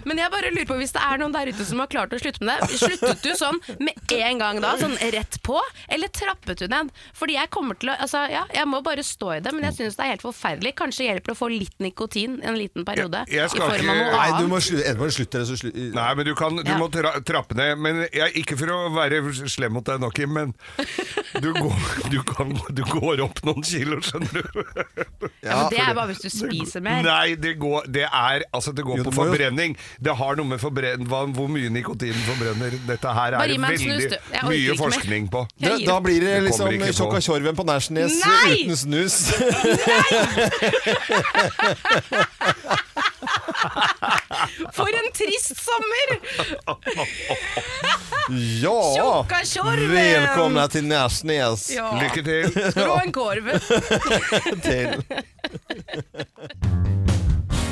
S3: Men jeg bare lurer på hvis det er noen der ute som har klart å slutte med det. Sluttet du sånn med en gang da, sånn rett på, eller trappet du ned? Fordi jeg kommer til å Altså, ja, jeg må bare stå i det, men jeg syns det er helt forferdelig. Kanskje hjelper det å få litt nikotin en liten periode.
S2: Jeg- jeg skal
S3: I form av
S2: ikke-
S3: noe
S1: Nei, du
S3: annet.
S1: må slutte. Enten må du slutte, eller så slutt-
S2: nei, men du, kan, du
S3: Ja.
S2: må tra trappe ned. Men jeg, ikke for å være slem mot deg nå, Kim, men du går, du, kan, du går opp noen kilo, skjønner du.
S3: Ja, men det er bare hvis du spiser mer.
S2: Nei, det går, det er, altså, det går
S1: Jo, det
S2: på
S1: må jo-
S2: forbrenning. Det har noe med forbrenn, hva, hvor mye nikotin forbrenner. Dette her
S3: Bare
S2: er
S3: gi
S2: det
S3: meg en snus,
S2: veldig
S3: du. Jeg orker ikke
S2: mye
S3: mer.
S2: forskning på.
S1: Da,
S3: Jeg gir
S1: da
S3: opp.
S1: blir det
S2: Det
S1: liksom
S2: kommer ikke på.
S1: tjokka tjorven på Nærsnes
S3: Nei!
S1: uten snus.
S3: For en trist sommer!
S1: Ja!
S3: Tjokka tjorven!
S1: Velkomna til Nærsnes.
S3: Ja.
S2: Lykke til.
S3: Rå en korv.
S1: Til.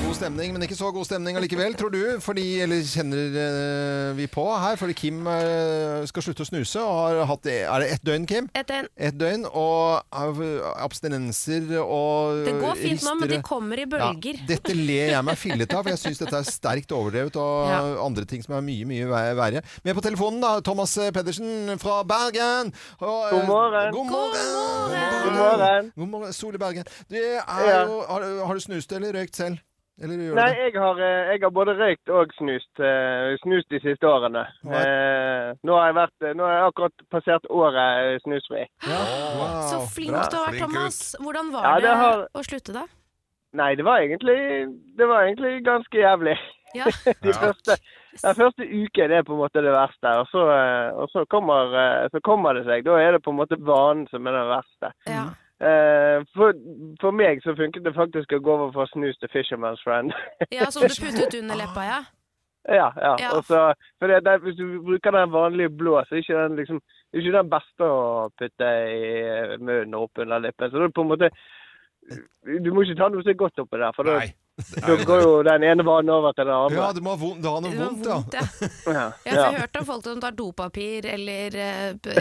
S1: God stemning, men ikke så god stemning allikevel, tror du? Fordi, eller kjenner eh, vi på her? Fordi Kim eh, skal slutte å snuse, og har hatt det Er det ett døgn, Kim?
S3: Etter en
S1: Ett døgn, og av- abstinenser og
S3: det går fint nå, men det
S1: ristere.
S3: kommer i bølger.
S1: Ja, dette ler jeg meg fillet av, for jeg syns dette er sterkt overdrevet. Og
S3: Ja.
S1: andre ting som er mye, mye ver- verre. Med på telefonen, da, Thomas eh, Pedersen fra Bergen. Og, eh,
S4: God morgen.
S1: God morgen.
S4: God morgen.
S1: God morgen, Sol i Bergen. Du er
S4: Ja.
S1: jo, har, du- har du snust eller røykt selv? Eller gjør du
S4: Nei,
S1: det?
S4: jeg har, eh, jeg har både røykt og snust, eh, snust de siste årene.
S1: Nei.
S4: Eh, nå, har jeg vært, eh, nå har jeg akkurat passert året eh, snusfri.
S1: Ja. Wow.
S3: Så flink du
S1: Bra.
S3: har vært,
S2: Flink gutt.
S3: Thomas. Hvordan
S4: Ja,
S3: var
S4: det
S3: det
S4: har-
S3: å slutte, da?
S4: Nei, det var egentlig, det var egentlig ganske jævlig.
S3: Ja.
S4: De første, den første uken er på en måte det verste, og, så, eh, og så, kommer, eh, så kommer det seg. Da er det på en måte vanen som er den verste.
S3: ja.
S4: Eh, for, for meg så funket det faktisk å gå over fra snus til Fisherman's Friend.
S3: Ja, som du puttet under leppa, ja.
S4: Ja, ja.
S3: Ja.
S4: Og så, for det, det, hvis du bruker den vanlige blå, så er ikke den, liksom, det er ikke den beste å putte i munnen og oppunder lippen. Så det er på en måte Du må ikke ta noe som er godt oppi der, for da
S2: Nei.
S4: Da går jo den ene vanen over til den andre.
S1: Ja, du må ha vondt, du har noe
S3: Det var
S1: vondt, ja.
S3: vondt, ja.
S4: Ja.
S3: Ja, for Jeg har hørt om folk som tar dopapir eller eh, b-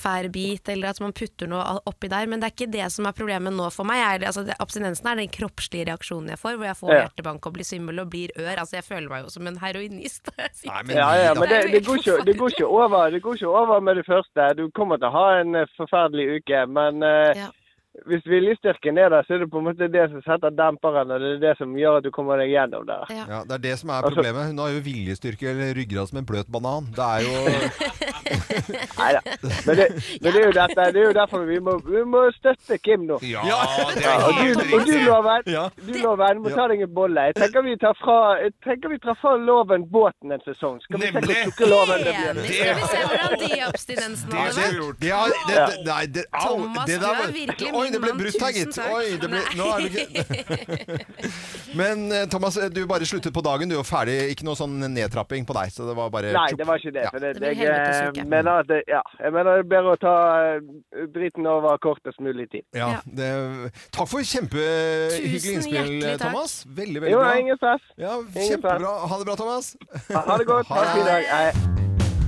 S3: ingefærbit, eller at man putter noe a- oppi der, men det er ikke det som er problemet nå for meg. Jeg, er- altså, det, abstinensen er den kroppslige reaksjonen jeg får, hvor jeg får
S4: Ja.
S3: hjertebank og blir svimmel og blir ør. Altså, jeg føler meg jo som en heroinist.
S1: Nei, men-
S4: Ja, ja,
S3: Det
S4: men
S3: er
S4: det,
S3: jo
S4: det,
S3: helt
S4: går ikke, det, går ikke over, det går ikke over med det første. Du kommer til å ha en eh, forferdelig uke, men eh,
S3: Ja.
S4: hvis viljestyrken er der, så er det på en måte det som setter demperen, og det er det som gjør at du kommer deg gjennom det.
S3: Ja.
S1: Ja, Det er det som er
S4: Altså-
S1: problemet. Hun har jo viljestyrke eller ryggrad som en bløt banan. Det er jo
S4: Neida. Men, det, men det, er jo dette, det er jo derfor vi må, vi må støtte Kim nå.
S2: Ja,
S1: Ja.
S2: det
S4: Ja,
S2: er
S4: og du,
S2: helt
S4: og du
S2: riktig.
S4: loven,
S1: Ja.
S4: du loven, må ta deg en bolle. Jeg tenker vi tar fra, jeg tenker vi tar fra loven båten en sesong. Skal vi se hvor
S2: Nemlig.
S4: sukkerloven det blir?
S3: Enig! Skal vi se hvordan de abstinensene
S2: Det
S3: hadde
S2: skulle vi
S3: vært.
S2: gjort.
S1: det er, det, det, Nei, det, au!
S3: Thomas,
S1: det
S3: du
S1: der
S3: er
S1: var-
S3: virkelig
S1: Oi,
S3: min
S1: det ble
S3: mann.
S1: brutt her,
S3: Tusen
S1: gitt.
S3: takk.
S1: Oi, det ble, nå er det ikke Men eh, Thomas, du bare sluttet på dagen. Du var ferdig. Ikke noe sånn nedtrapping på deg. Så det var bare
S4: Nei, det var ikke det. For det,
S3: Det blir
S4: jeg,
S3: helvetes uke.
S4: eh, mener at det, ja, jeg mener det er bedre å ta eh, driten over kortest mulig tid.
S1: Ja,
S3: Ja.
S1: det, takk for kjempehyggelig
S3: Tusen
S1: innspill, eh,
S3: hjertelig takk.
S1: Thomas. Veldig, veldig
S4: Jo,
S1: bra.
S4: ingen stress.
S1: Ja,
S4: Ingen stress.
S1: Kjempebra. Ha det bra, Thomas.
S4: Ha det godt. Ha en fin dag. Hei.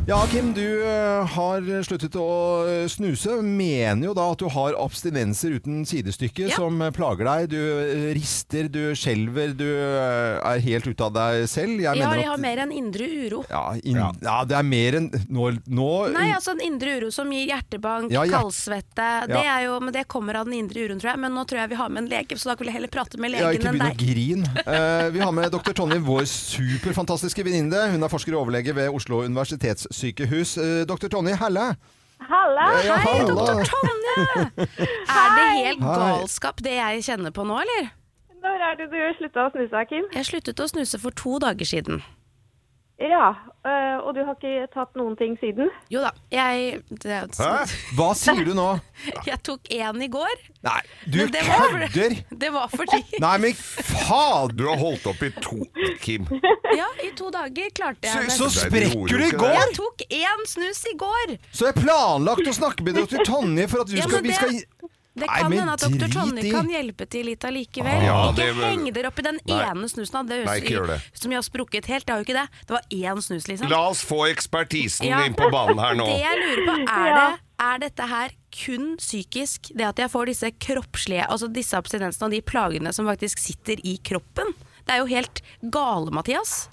S1: Ja, Kim, du eh, har sluttet å eh, snuse. Mener jo da at du har abstinenser uten sidestykke
S3: Ja.
S1: som eh, plager deg. Du eh, rister, du skjelver, du eh, er helt ute av deg selv. Jeg
S3: Ja,
S1: mener
S3: jeg har
S1: at
S3: mer enn indre uro.
S1: ja, inn, ja. det er mer enn Nå, nå
S3: Nei, altså en indre uro som gir hjertebank,
S1: Ja, hjert-
S3: kaldsvette. Det er jo, men det kommer av den indre uroen, tror jeg. Men nå tror jeg vi har med en lege, så da vil jeg heller prate med
S1: Ja,
S3: legen
S1: ikke
S3: enn
S1: begynn å
S3: deg.
S1: grine. Eh, vi har med dr. Tonje, vår superfantastiske venninne. Hun er forsker og overlege ved Oslo universitetssykehus. Eh, dr. Tonje, helle!
S5: Halla!
S1: Ja,
S3: Hei,
S1: halla.
S3: doktor Tonje! Er det helt galskap det jeg kjenner på nå, eller?
S5: Når er det du slutta å snuse, Kim?
S3: Jeg sluttet å snuse for to dager siden.
S5: Ja, øh, og du har ikke tatt noen ting siden?
S3: Jo da, jeg det,
S2: Hæ?
S1: Hva sier du nå?
S3: Jeg tok én i går.
S1: Nei, du
S3: Men det var-
S1: kødder!
S3: Det var fordi
S1: Nei, men fader!
S2: Du har holdt opp i to, Kim.
S3: Ja, i to dager klarte jeg
S1: Så, så
S3: det.
S2: Det er
S1: sprekker du i
S2: ikke det.
S1: går!
S3: Jeg tok én snus i går!
S1: Så jeg planlagt å snakke med dr. Tonje for at du
S3: Ja,
S1: skal,
S3: men
S1: vi skal
S3: det- Det
S1: Nei,
S3: kan
S1: men
S3: hende at doktor
S1: drit
S3: Tonje
S1: i.
S3: kan hjelpe til litt allikevel.
S2: Ah, Ja,
S3: ikke
S2: det-
S3: heng dere opp i den
S2: Nei.
S3: ene snusen da. det høres
S2: Nei, ikke
S3: i-
S2: gjør det.
S3: som jeg har sprukket helt. Det har jo ikke det. Det var én snus, liksom.
S2: La oss få ekspertisen
S3: Ja.
S2: inn på banen her nå.
S3: Det jeg lurer på, er,
S5: Ja.
S3: det, er dette her kun psykisk? Det at jeg får disse kroppslige Altså disse abstinensene og de plagene som faktisk sitter i kroppen? Det er jo helt gale, Mathias.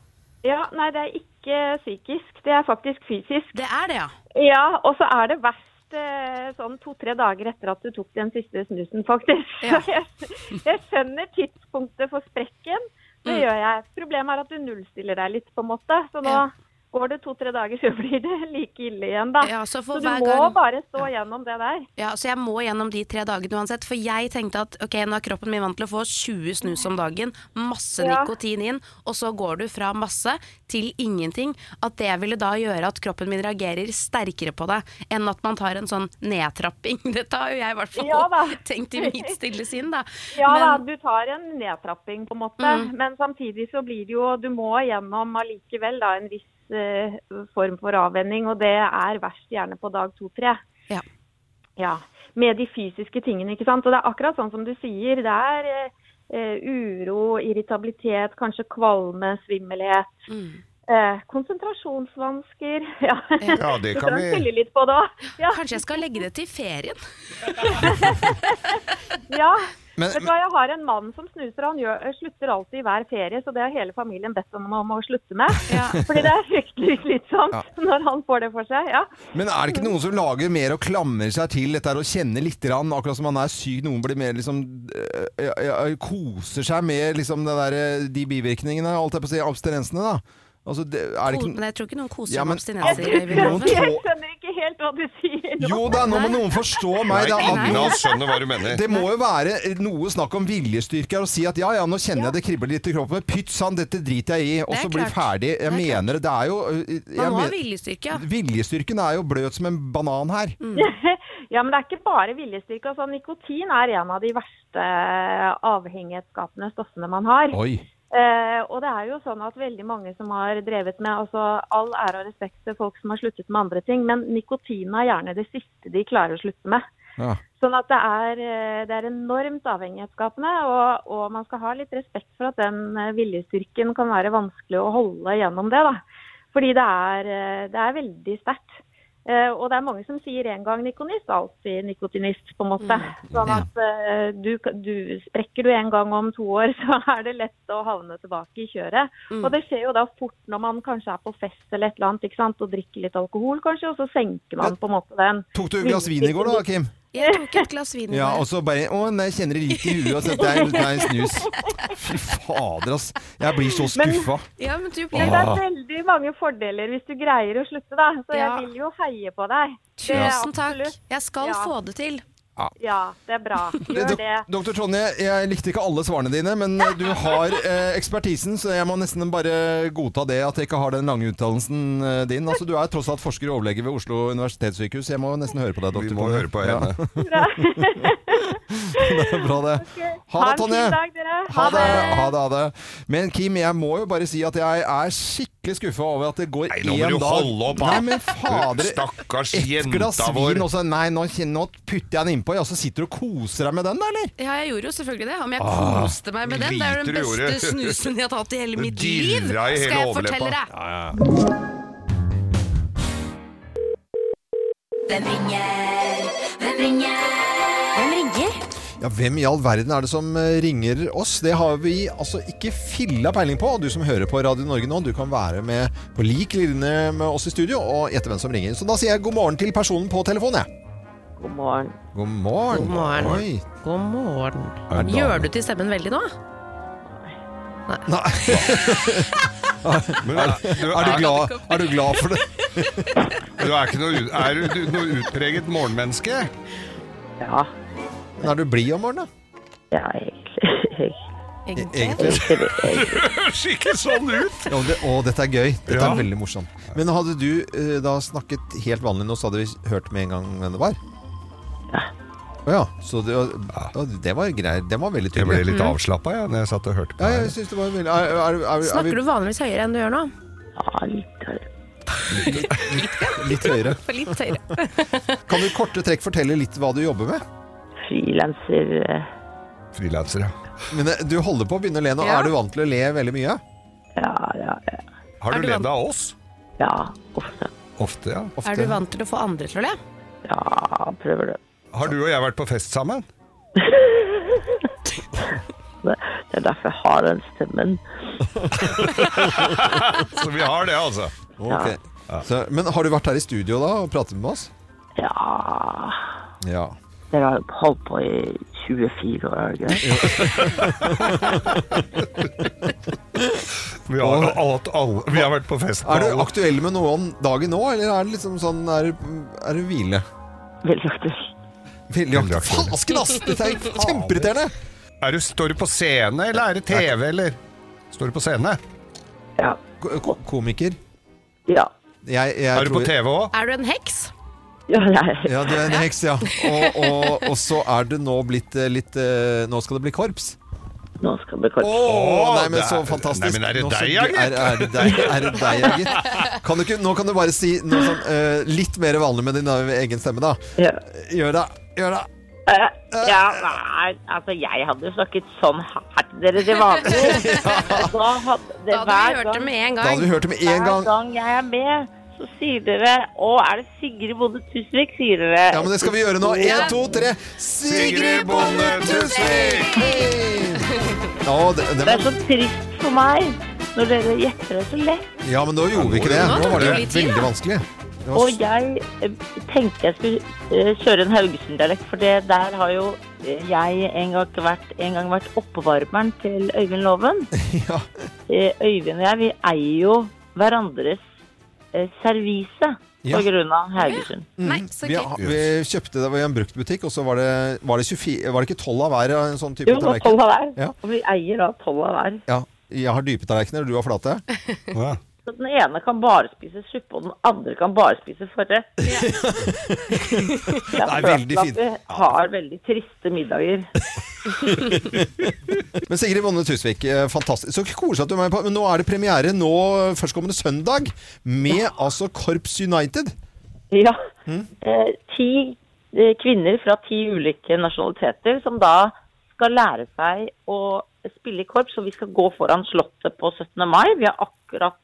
S5: Ja, nei, det er ikke psykisk. Det er faktisk fysisk.
S3: Det er det, ja.
S5: Ja, og så er det verst øh, sånn to-tre dager etter at du tok den siste snusen, faktisk.
S3: Ja.
S5: Så Jeg, jeg skjønner tidspunktet for sprekken. Det
S3: Mm.
S5: gjør jeg. Problemet er at du nullstiller deg litt, på en måte. Så nå
S3: Ja.
S5: går det to-tre dager, så blir det like ille igjen, da.
S3: Ja, så for
S5: du
S3: hver
S5: må
S3: gang-
S5: bare stå gjennom det der.
S3: ja. Så jeg må gjennom de tre dagene uansett. For jeg tenkte at ok, nå er kroppen min vant til å få 20 snus om dagen, masse
S5: Ja.
S3: nikotin inn, og så går du fra masse til ingenting. At det ville da gjøre at kroppen min reagerer sterkere på det enn at man tar en sånn nedtrapping. Dette har jo jeg i hvert fall
S5: Ja da.
S3: tenkt i mitt stille sinn, da.
S5: Ja
S3: Men- Mm.
S5: da, du tar en nedtrapping på en måte, men samtidig så blir det jo Du må gjennom allikevel da en viss eh, form for avvenning, og det er verst gjerne på dag to-tre.
S3: Ja.
S5: Ja. Med de fysiske tingene, ikke sant. Og det er akkurat sånn som du sier. Det er eh, eh, uro, irritabilitet, kanskje kvalme, svimmelhet.
S3: Mm.
S5: Eh, konsentrasjonsvansker. Ja,
S2: Ja, det
S5: Du
S2: kan
S5: kan
S2: vi-
S5: fylle litt på det òg. Ja,
S3: Kanskje jeg skal legge det til ferien?
S5: ja.
S1: Men-
S5: Vet du hva, Jeg har en mann som snuser, og han gjør, eh, slutter alltid i hver ferie. Så det har hele familien bedt ham om å slutte med.
S3: Ja.
S5: Fordi det er fryktelig slitsomt
S1: Ja.
S5: når han får det for seg. Ja.
S1: Men er det ikke noen som lager mer og klamrer seg til dette her og kjenner litt, grann, akkurat som man er syk, noen blir mer liksom øh, ja, ja, Koser seg med liksom det der, øh, de bivirkningene, holdt jeg på å si, abstinensene, da. Altså, det, er det ikke
S3: Men jeg tror ikke noen koser
S1: Ja,
S3: ja,
S1: men-
S3: med abstinenser.
S1: Ja,
S3: Øyvind
S1: men-
S3: Loven.
S5: Jeg skjønner ikke helt hva du sier nå.
S1: Jo da, nå må noen forstå meg. Det,
S2: Nei,
S1: er,
S2: Ingen av oss skjønner hva du mener.
S1: det må jo være noe snakk om viljestyrke her, å si at ja, ja, nå kjenner jeg det kribler litt i kroppen. Pytt sann, dette driter jeg i, og
S3: Det er
S1: så blir
S3: klart.
S1: ferdig. Jeg
S3: Det er klart.
S1: mener det. Det er jo øh, jeg
S3: Man må ha
S1: men-
S3: viljestyrke. ja. Mm.
S1: Viljestyrken er jo bløt som en banan her.
S5: Ja, men det er ikke bare viljestyrke. Altså, nikotin er en av de verste avhengighetsskapende stoffene man har.
S1: Oi.
S5: Eh, og det er jo sånn at veldig mange som har drevet med altså All ære og respekt til folk som har sluttet med andre ting, men nikotin er gjerne det siste de klarer å slutte med.
S1: Ja.
S5: Sånn at det er, eh, det er enormt avhengighetsskapende, og, og man skal ha litt respekt for at den eh, viljestyrken kan være vanskelig å holde gjennom det. da. Fordi det er, eh, det er veldig sterkt. Eh, Og det er mange som sier en gang nikonist, alltid nikotinist, på en måte. Sånn at eh, du, du, sprekker du en gang om to år, så er det lett å havne tilbake i kjøret. Og det skjer jo da fort når man kanskje er på fest eller et eller annet, ikke sant? og drikker litt alkohol kanskje, og så senker man på en måte den.
S1: Tok du et glass vin i går da, Kim?
S3: Jeg tok et glass vin. i
S1: Ja, altså- og så
S3: går.
S1: bare Å, nei, jeg kjenner det litt i huet. Altså, det, er, det er en snus. Fy fader, ass. Jeg blir så skuffa.
S3: ja, men du
S5: Men
S3: blir
S5: det
S1: Ah.
S5: er veldig mange fordeler hvis du greier å slutte, da. Så
S3: Ja.
S5: jeg vil jo heie på deg. Det er
S3: Tusen takk.
S5: absolutt-
S3: Jeg skal
S5: Ja.
S3: få det til.
S5: Ja, det er bra. Gjør det.
S1: Doktor Tonje, jeg likte ikke alle svarene dine, men eh, du har eh, ekspertisen, så jeg må nesten bare godta det at jeg ikke har den lange utdannelsen eh, din. Altså, du er tross alt forsker og overlege ved Oslo universitetssykehus. Jeg må nesten høre på deg,
S2: Vi
S1: doktor
S2: må
S1: Tonje.
S2: høre på henne.
S5: Bra.
S1: Ja, det er bra, det. Ha
S5: Ha
S1: det,
S5: en
S1: Tonje.
S5: fin dag, dere.
S1: Ha det. ha det, ha det. Men Kim, jeg må jo bare si at jeg er skikkelig skuffa over at det går
S2: Nei,
S1: én dag
S2: nå må du holde opp, da.
S1: Nei, men fader.
S2: Stakkars
S1: Et glass
S2: jenta vår.
S1: vin, og så Nei, nå, kjenner- nå putter jeg den innpå, ja, så sitter du og koser deg med den, da, eller?
S3: Ja, jeg gjorde jo selvfølgelig det. Om jeg
S1: Ah,
S3: koste meg med den. Det er jo den
S2: lite du
S3: beste
S2: gjorde.
S3: snusen jeg har tatt i hele mitt liv,
S2: Dirra i hele
S3: skal jeg
S2: overleppa.
S3: fortelle deg.
S2: Ja, ja.
S6: Hvem ringer? Hvem ringer? Hvem ringer?
S1: Ja, hvem i all verden er det som eh, ringer oss? Det har vi altså ikke filla peiling på. Og Du som hører på Radio Norge nå, du kan være med på lik linje med oss i studio og gjette hvem som ringer. Så da sier jeg god morgen til personen på telefonen, jeg.
S7: God morgen.
S1: God morgen.
S3: God morgen.
S1: Oi.
S3: God morgen. Gjør du til stemmen veldig nå?
S2: Men er, du,
S1: Er du,
S2: er,
S1: glad, er du glad for det?
S2: du er ikke noe, ut- er du noe utpreget morgenmenneske?
S7: Ja,
S1: Men er du blid om morgenen, da?
S7: ja egentlig.
S1: Egentlig.
S2: Høres ikke sånn ut!
S1: Ja, det, å, dette er gøy. Dette
S2: Ja.
S1: er veldig morsomt. Men hadde du eh, da snakket helt vanlig nå, så hadde vi hørt med en gang hvem det var? Å ja. Så det var, ja, det var greier. Den var veldig
S2: Jeg ble
S1: tydelig.
S2: litt avslappa ja, når jeg satt og hørte på.
S1: Ja, jeg
S2: deg.
S1: synes det var veldig er, er, er, er, er vi
S3: Snakker du vanligvis høyere enn du gjør nå?
S7: Ja, litt høyere.
S1: Litt høyere.
S3: For litt høyere.
S1: Kan du i korte trekk fortelle litt hva du jobber med?
S7: Frilanser eh,
S2: Frilanser, ja.
S1: Men eh, Du holder på å begynne å le nå.
S3: Ja.
S1: Er du vant til å le veldig mye?
S7: Ja, ja, ja.
S2: Har
S3: Er
S2: du
S3: du
S2: ledd av oss?
S7: ja. Ofte.
S2: Ofte, ja.
S1: Ofte.
S3: Er du vant til å få andre til å le?
S7: Ja, prøver det.
S2: Har du og jeg vært på fest sammen?
S7: Det det er derfor jeg har den stemmen.
S2: Så vi har det, altså.
S1: Ok. Så, men har du vært her i studio da og pratet med oss?
S7: Ja
S1: Ja.
S7: Dere har holdt på i 24 år, har dere ikke det?
S2: Vi har, alt, alle, vi har vært på fest
S1: Er
S2: med
S1: du
S2: alle.
S1: aktuell med noen dagen nå, eller er det liksom sånn Er, er det hvile?
S7: Veldig aktuelt.
S1: Veldig
S2: Veldig
S1: aktiv.
S2: aktiv.
S1: Fasken, ass! Dette er jo kjempeirriterende!
S2: Er du, står du på scene, eller er det TV, eller? Står du på scene?
S7: Ja.
S1: Ko- ko- Komiker.
S7: Ja.
S1: Jeg, jeg
S2: Er du på
S1: tror-
S2: TV òg?
S3: Er du en heks?
S7: Ja, nei.
S1: Ja, du er en heks, ja. Og, og, og så er det nå blitt eh, litt eh, Nå skal det bli korps.
S7: Nå skal det bli kort.
S1: Å, nei, men så fantastisk.
S2: Nei, men er det
S1: Nå så-
S2: deg, ja,
S1: Er,
S2: gitt?
S1: er det deg, er det deg ja, gitt? Kan du ikke, nå kan du bare si noe sånn eh, litt mer vanlig med din eh, egen stemme, da.
S7: Ja.
S1: Gjør det. Gjør det.
S7: Eh, ja, nei, altså jeg hadde jo snakket sånn her til dere til vanlig. Da hadde det
S3: Da hadde vi
S7: hver
S3: hørt det
S7: gang,
S3: med en
S1: Da hadde
S3: gang.
S1: vi hørt det med en
S7: hver
S1: gang.
S7: gang jeg er med, så sier dere Å, er det Sigrid Bonde Tusvik, sier dere.
S1: Ja, men det skal vi gjøre nå. Én,
S3: Ja.
S1: to, tre. Sigrid Bonde Tusvik! Hei! Å, det- det
S7: Det er
S1: var-
S7: så trist for meg når dere gjetter det så lett.
S1: Ja, men nå gjorde vi ikke det.
S2: Nå
S1: Nå var det
S2: tok
S3: det litt tid,
S1: veldig
S3: da.
S1: vanskelig. Det var
S7: Og jeg eh, tenkte jeg skulle eh, kjøre en Haugesund-dialekt, for det der har jo eh, jeg en gang vært, en gang vært oppvarmeren til Øyvind Loven.
S1: Ja.
S7: Eh, Øyvind og jeg, vi eier jo hverandres eh, servise
S1: Ja.
S7: på grunn av Haugesund.
S3: Nei, så
S1: Vi,
S3: gøy.
S1: har- vi kjøpte det i en bruktbutikk, og så var det, var det 24 Var det ikke 12 av hver av en sånn type
S7: Jo, det var
S1: tallerken?
S7: tolv av hver.
S1: Ja.
S7: Og vi eier da tolv av hver.
S1: Ja. Jeg har dype tallerkener, og du har flate.
S2: Ja.
S7: Så den ene kan bare spise suppe, og den andre kan bare spise forrett. Jeg
S1: er
S7: har
S1: veldig
S7: følt
S1: fint.
S7: at vi har veldig triste middager.
S1: Men Sigrid Bonde Tusvik, eh, fantastisk. Så koselig at du er med på. Men nå er det premiere nå eh, førstkommende søndag med altså Korps United.
S7: Ja. Eh, ti
S4: eh, kvinner fra ti ulike nasjonaliteter som da skal lære seg å spille i korps. Og vi skal gå foran Slottet på 17. mai. Vi har akkurat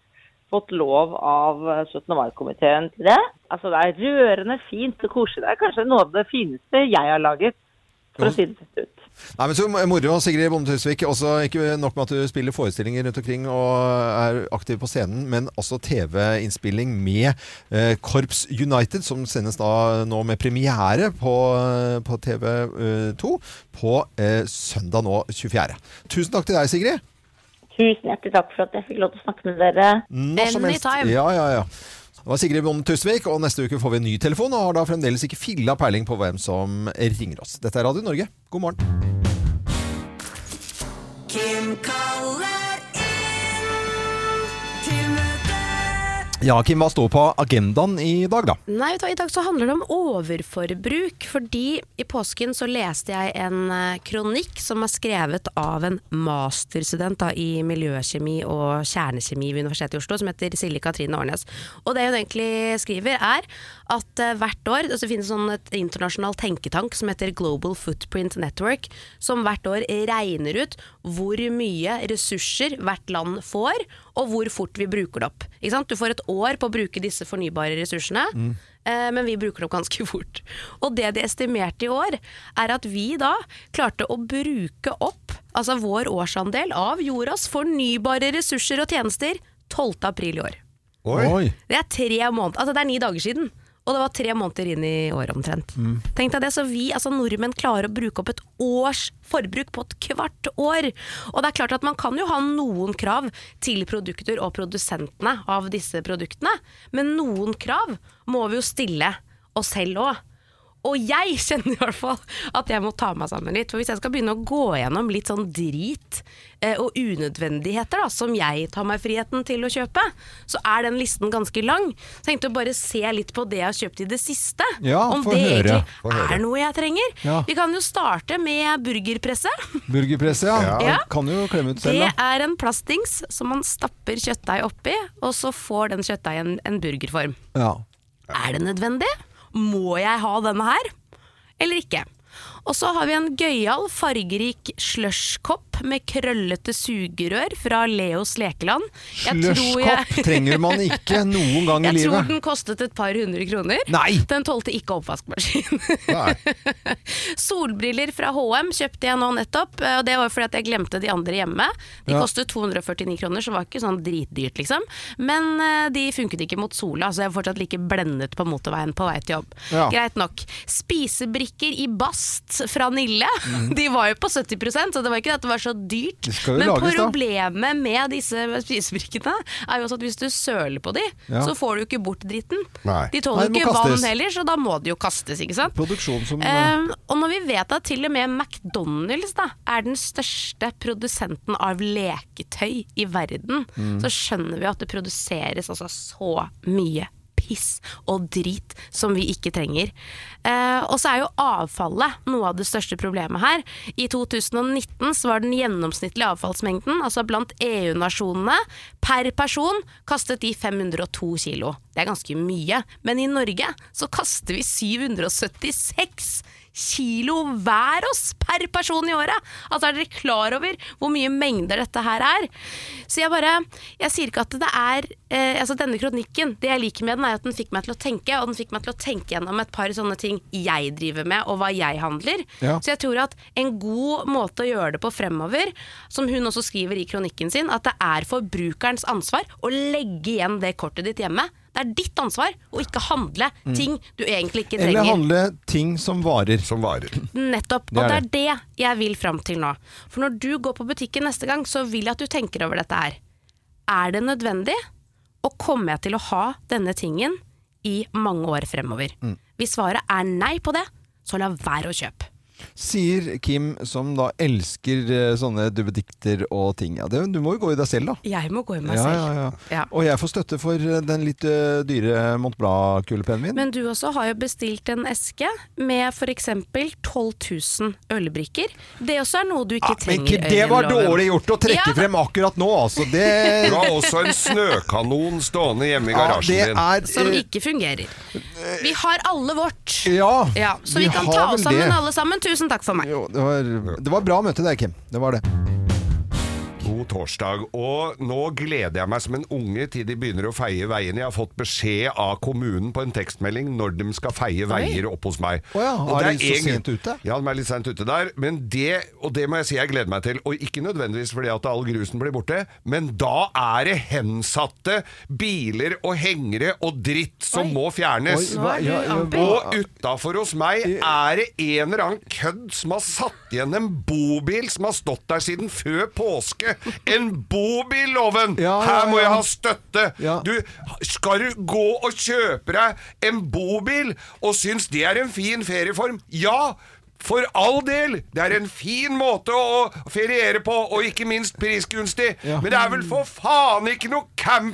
S4: fått lov av eh, 17. mai-komiteen til det. Altså det er rørende fint og koselig. Det er kanskje noe av det fineste jeg har laget, for å si det rett ut.
S1: Nei, men så moro, Sigrid Bonde Tusvik. Også ikke nok med at du spiller forestillinger rundt omkring og er aktiv på scenen, men også TV-innspilling med eh, Korps United, som sendes da nå med premiere på, eh, på TV2 på eh, søndag nå 24. Tusen takk til deg, Sigrid.
S4: Tusen hjertelig takk for at jeg fikk lov til å snakke med dere.
S1: Når som helst.
S3: Anytime.
S1: Ja, ja, ja. Det var Sigrid Bonde Tusvik, og neste uke får vi en ny telefon, og har da fremdeles ikke filla peiling på hvem som ringer oss. Dette er Radio Norge. God morgen.
S8: Kim kaller inn til møte.
S1: Ja, Kim, hva står på agendaen i dag, da?
S3: Nei, vet du hva, I dag så handler det om overforbruk. Fordi i påsken så leste jeg en eh, kronikk som er skrevet av en masterstudent da, i miljøkjemi og kjernekjemi ved Universitetet i Oslo, som heter Silje Katrine Årnes. Og det hun egentlig skriver, er at eh, hvert år altså, Det finnes sånn et internasjonal tenketank som heter Global Footprint Network, som hvert år regner ut hvor mye ressurser hvert land får, og hvor fort vi bruker det opp. Ikke sant? Du får et år på å bruke disse fornybare ressursene, eh, men vi bruker det opp ganske fort. Og det de estimerte i år, er at vi da klarte å bruke opp altså vår årsandel av jordas fornybare ressurser og tjenester 12. april i år.
S2: Oi.
S3: Det er tre måneder, altså det er ni dager siden. Og det var tre måneder inn i året omtrent. Tenk deg det, så vi altså nordmenn klarer å bruke opp et års forbruk på et kvart år. Og det er klart at man kan jo ha noen krav til produkter og produsentene av disse produktene, men noen krav må vi jo stille oss selv òg. Og jeg kjenner i hvert fall at jeg må ta meg sammen litt. For hvis jeg skal begynne å gå gjennom litt sånn drit eh, og unødvendigheter da, som jeg tar meg friheten til å kjøpe, så er den listen ganske lang. Så jeg tenkte å bare se litt på det jeg har kjøpt i det siste.
S1: Ja,
S3: om
S1: få
S3: det
S1: høre,
S2: få høre.
S3: egentlig er noe jeg trenger.
S1: Ja.
S3: Vi kan jo starte med burgerpresset.
S1: Burgerpresse, ja.
S3: Ja.
S1: Kan jo klemme ut selv,
S3: Det
S1: da.
S3: er en plastdings som man stapper kjøttdeig oppi, og så får den kjøttdeigen en burgerform.
S1: Ja.
S3: Er det nødvendig? Må jeg ha denne her? Eller ikke? Og så har vi en gøyal, fargerik slushkopp med krøllete sugerør fra Leos Lekeland. Jeg tror jeg-
S1: Slushkopp trenger man ikke noen gang i
S3: Jeg tror
S1: livet.
S3: den kostet et par hundre kroner.
S1: Nei!
S3: Den tålte ikke oppvaskmaskin.
S2: Nei.
S3: Solbriller fra HM kjøpte jeg nå nettopp, eh, og det var jo fordi at jeg glemte de andre hjemme. De
S1: Ja.
S3: kostet 249 kroner, så det var ikke sånn dritdyrt, liksom. Men eh, de funket ikke mot sola, så jeg er fortsatt like blendet på motorveien på vei til jobb.
S1: Ja.
S3: Greit nok. Spisebrikker i bast fra Nille, de var jo på 70 så det var ikke det at det var så dyrt.
S1: Det Mm. skal jo
S3: Men
S1: lages, da.
S3: problemet med disse spisebrikkene er jo også at hvis du søler på de,
S1: Ja.
S3: så får du jo ikke bort dritten.
S2: Nei.
S3: De
S1: Nei,
S3: tåler
S1: det må
S3: jo ikke vann
S1: kastes.
S3: heller, så da må de jo kastes, ikke sant.
S1: Produksjon som eh,
S3: Eh, og når vi vet at til og med McDonald's da, er den største produsenten av leketøy i verden,
S1: Mm.
S3: så skjønner vi at det produseres altså så mye piss og drit som vi ikke trenger. Eh, og så er jo avfallet noe av det største problemet her. I 2019 så var den gjennomsnittlige avfallsmengden, altså blant EU-nasjonene, per person kastet de 502 kilo. Det er ganske mye. Men i Norge så kaster vi 776 kilo hver oss per person i året. Altså er dere klar over hvor mye mengder dette her er? Så jeg bare, jeg sier ikke at det er, eh, altså denne kronikken, det jeg liker med den er at den fikk meg til å tenke, og den fikk meg til å tenke gjennom et par sånne ting jeg driver med, og hva jeg handler.
S1: Ja.
S3: Så jeg tror at en god måte å gjøre det på fremover, som hun også skriver i kronikken sin, at det er forbrukerens ansvar å legge igjen det kortet ditt hjemme. Det er ditt ansvar å ikke handle ting du egentlig ikke
S1: Mm. Eller
S3: trenger.
S1: handle ting som varer.
S2: Som varer.
S3: Nettopp. Og
S1: Det
S3: det
S1: er
S3: er det jeg vil fram til nå. For når du går på butikken neste gang, så vil jeg at du tenker over dette her. Er det nødvendig? Og kommer jeg til å ha denne tingen
S1: Mm.
S3: i mange år fremover? Hvis svaret er nei på det, så la være å kjøpe.
S1: Sier Kim, som da elsker eh, sånne duppedikter og ting. Ja, det, du må jo gå i deg selv, da.
S3: Jeg må gå i meg
S1: Ja,
S3: selv.
S1: ja, ja.
S3: Ja.
S1: Og jeg får støtte for eh, den litt eh, dyre Montblanc-kulepennen min.
S3: Men du også har jo bestilt en eske med f.eks. 12 000 ølbrikker. Det også er noe du ikke
S1: Ja, Ah, men
S3: trenger.
S1: ikke- det var
S3: Øyvind Loven.
S1: dårlig gjort å trekke
S3: Ja.
S1: frem akkurat nå, altså. Det,
S2: Du har også en snøkanon stående hjemme i
S1: ja,
S2: garasjen
S1: det
S2: din.
S1: er
S3: Som
S1: eh,
S3: ikke fungerer. Vi har alle vårt.
S1: Ja,
S3: Ja, så vi, kan
S1: har
S3: ta
S1: vel
S3: oss sammen
S1: det.
S3: alle sammen. Tusen takk for meg.
S1: Jo, det, var, det var bra møte der, Kim. Det var det.
S2: God torsdag, og nå gleder jeg meg som en unge til de begynner å feie veiene. Jeg har fått beskjed av kommunen på en tekstmelding når de skal feie veier opp hos meg.
S1: Å ja,
S2: Og
S1: er
S2: det
S1: de så
S2: en-
S1: sent ute?
S2: Ja, de er litt sent ute der. Men det, og det må jeg si jeg gleder meg til. Og ikke nødvendigvis fordi at all grusen blir borte, men da er det hensatte biler og hengere og dritt som må fjernes.
S1: Oi,
S3: Nå er du
S1: ja, ja,
S3: amper.
S1: hva-
S2: Og utafor hos meg er det en eller annen kødd som har satt igjen en bobil som har stått der siden før påske. En bobil, Loven!
S1: Ja, ja,
S2: Her må jeg
S1: ja.
S2: ha støtte!
S1: Ja.
S2: Du, skal du gå og kjøpe deg en bobil og syns det er en fin ferieform? Ja! For all del! Det er en fin måte å feriere på, og ikke minst prisgunstig.
S1: Ja.
S2: Men det er vel for faen ikke noe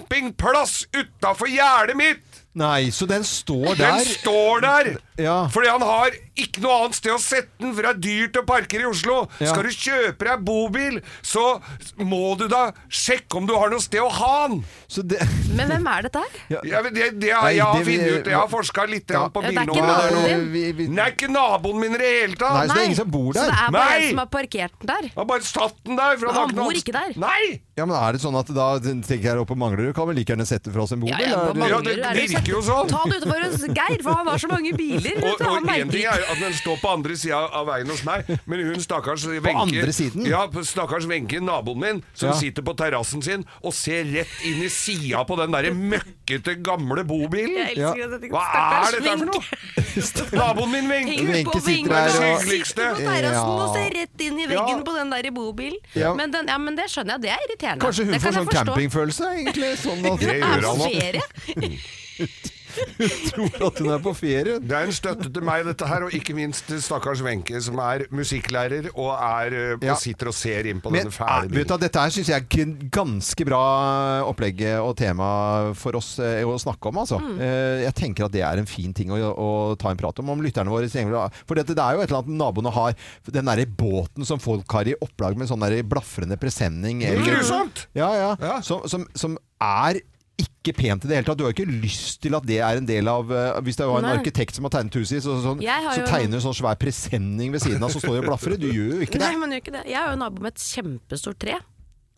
S2: campingplass utafor gjerdet mitt!
S1: Nei, så den står
S2: Den
S1: der.
S2: står der!
S1: Ja.
S2: Fordi han har ikke noe annet sted å sette den, for det er dyrt å parkere i Oslo.
S1: Ja.
S2: Skal du kjøpe deg bobil, så må du da sjekke om du har noe sted å ha den!
S1: Så det,
S3: Men hvem er dette her?
S2: Jeg, vet- det, det, har-
S1: Nei,
S2: jeg har
S1: det vi-
S2: funnet ut, jeg har forska litt
S1: Ja.
S2: på
S3: Ja, det er ikke
S2: bilnummeret der
S3: naboen
S2: nå.
S3: din.
S1: vi, vi,
S2: Den
S1: nei,
S2: er ikke naboen min i det hele
S1: så
S2: tatt!
S1: det
S3: Nei.
S1: er ingen som bor
S3: Så
S1: der.
S3: det er bare
S2: Nei.
S3: en som har parkert den der.
S2: Han bare satt den der. For
S3: Men
S2: har
S3: han
S2: noe
S3: bor
S2: annet-
S3: ikke der.
S2: Nei!
S1: Ja, men er det sånn at da tenker jeg oppe på Manglerud, kan vi like gjerne sette fra oss en bobil?
S3: Ja, ja,
S1: er
S3: hva
S1: det-
S2: Ja,
S3: mangler
S2: det
S3: du? Er det
S2: virker jo sånn.
S3: sant? Ta det utenfor hos Geir, for han har så mange biler. vet
S2: Og,
S3: du, han
S2: og en
S3: merker
S2: ting
S3: ikke.
S2: er at den står på andre sida av veien hos meg, men hun stakkars Wenche
S1: andre siden?
S2: Ja, på stakkars Wenche, naboen min, som
S1: Ja.
S2: sitter på terrassen sin og ser rett inn i sida på den derre møkkete gamle bobilen.
S3: Jeg elsker at dette
S2: Hva er dette for noe? Naboen min, Wenche!
S1: Wenche sitter
S3: Wenche sitter der
S2: der og-
S3: og sitter på terrassen og ser rett inn i veggen
S2: Ja.
S3: på den der i bobilen.
S1: Ja.
S3: Men, den, ja, men det skjønner jeg, det er irriterende.
S1: Kanskje hun
S3: det
S1: får
S3: kan
S1: sånn
S3: jeg forstå.
S1: campingfølelse, egentlig? Sånn at
S2: Det gjør
S3: Er
S2: han
S3: på
S2: nok.
S3: ferie?
S1: tror at hun er på ferie.
S2: Det er en støtte til meg, dette her, og ikke minst til stakkars Wenche, som er musikklærer og, er, eh,
S1: Ja.
S2: og sitter og ser inn på
S1: Men
S2: denne fæle
S1: eh, vet du,
S2: bilen.
S1: hva, dette her syns jeg er gr- ganske bra eh, opplegg og tema for oss eh, å snakke om. Altså.
S3: Mm.
S1: Eh, Jeg tenker at det er en fin ting å, å ta en prat om. Om lytterne våre tenker- For dette, det er jo et eller annet naboene har. Den derre båten som folk har i opplag med sånn derre blafrende presenning.
S2: er
S1: eller-
S2: grusomt!
S1: Ja, ja.
S2: Ja.
S1: Som, som, som er ikke pent i det hele tatt. Du har jo ikke lyst til at det er en del av eh, Hvis det var en
S3: Nei.
S1: arkitekt som har tegnet huset sitt, så, så,
S3: Jeg har
S1: så
S3: jo-
S1: tegner du sånn svær presenning ved siden av som står og blafrer. Du gjør jo ikke det.
S3: Nei, men gjør ikke det. Jeg er jo nabo med et kjempestort tre,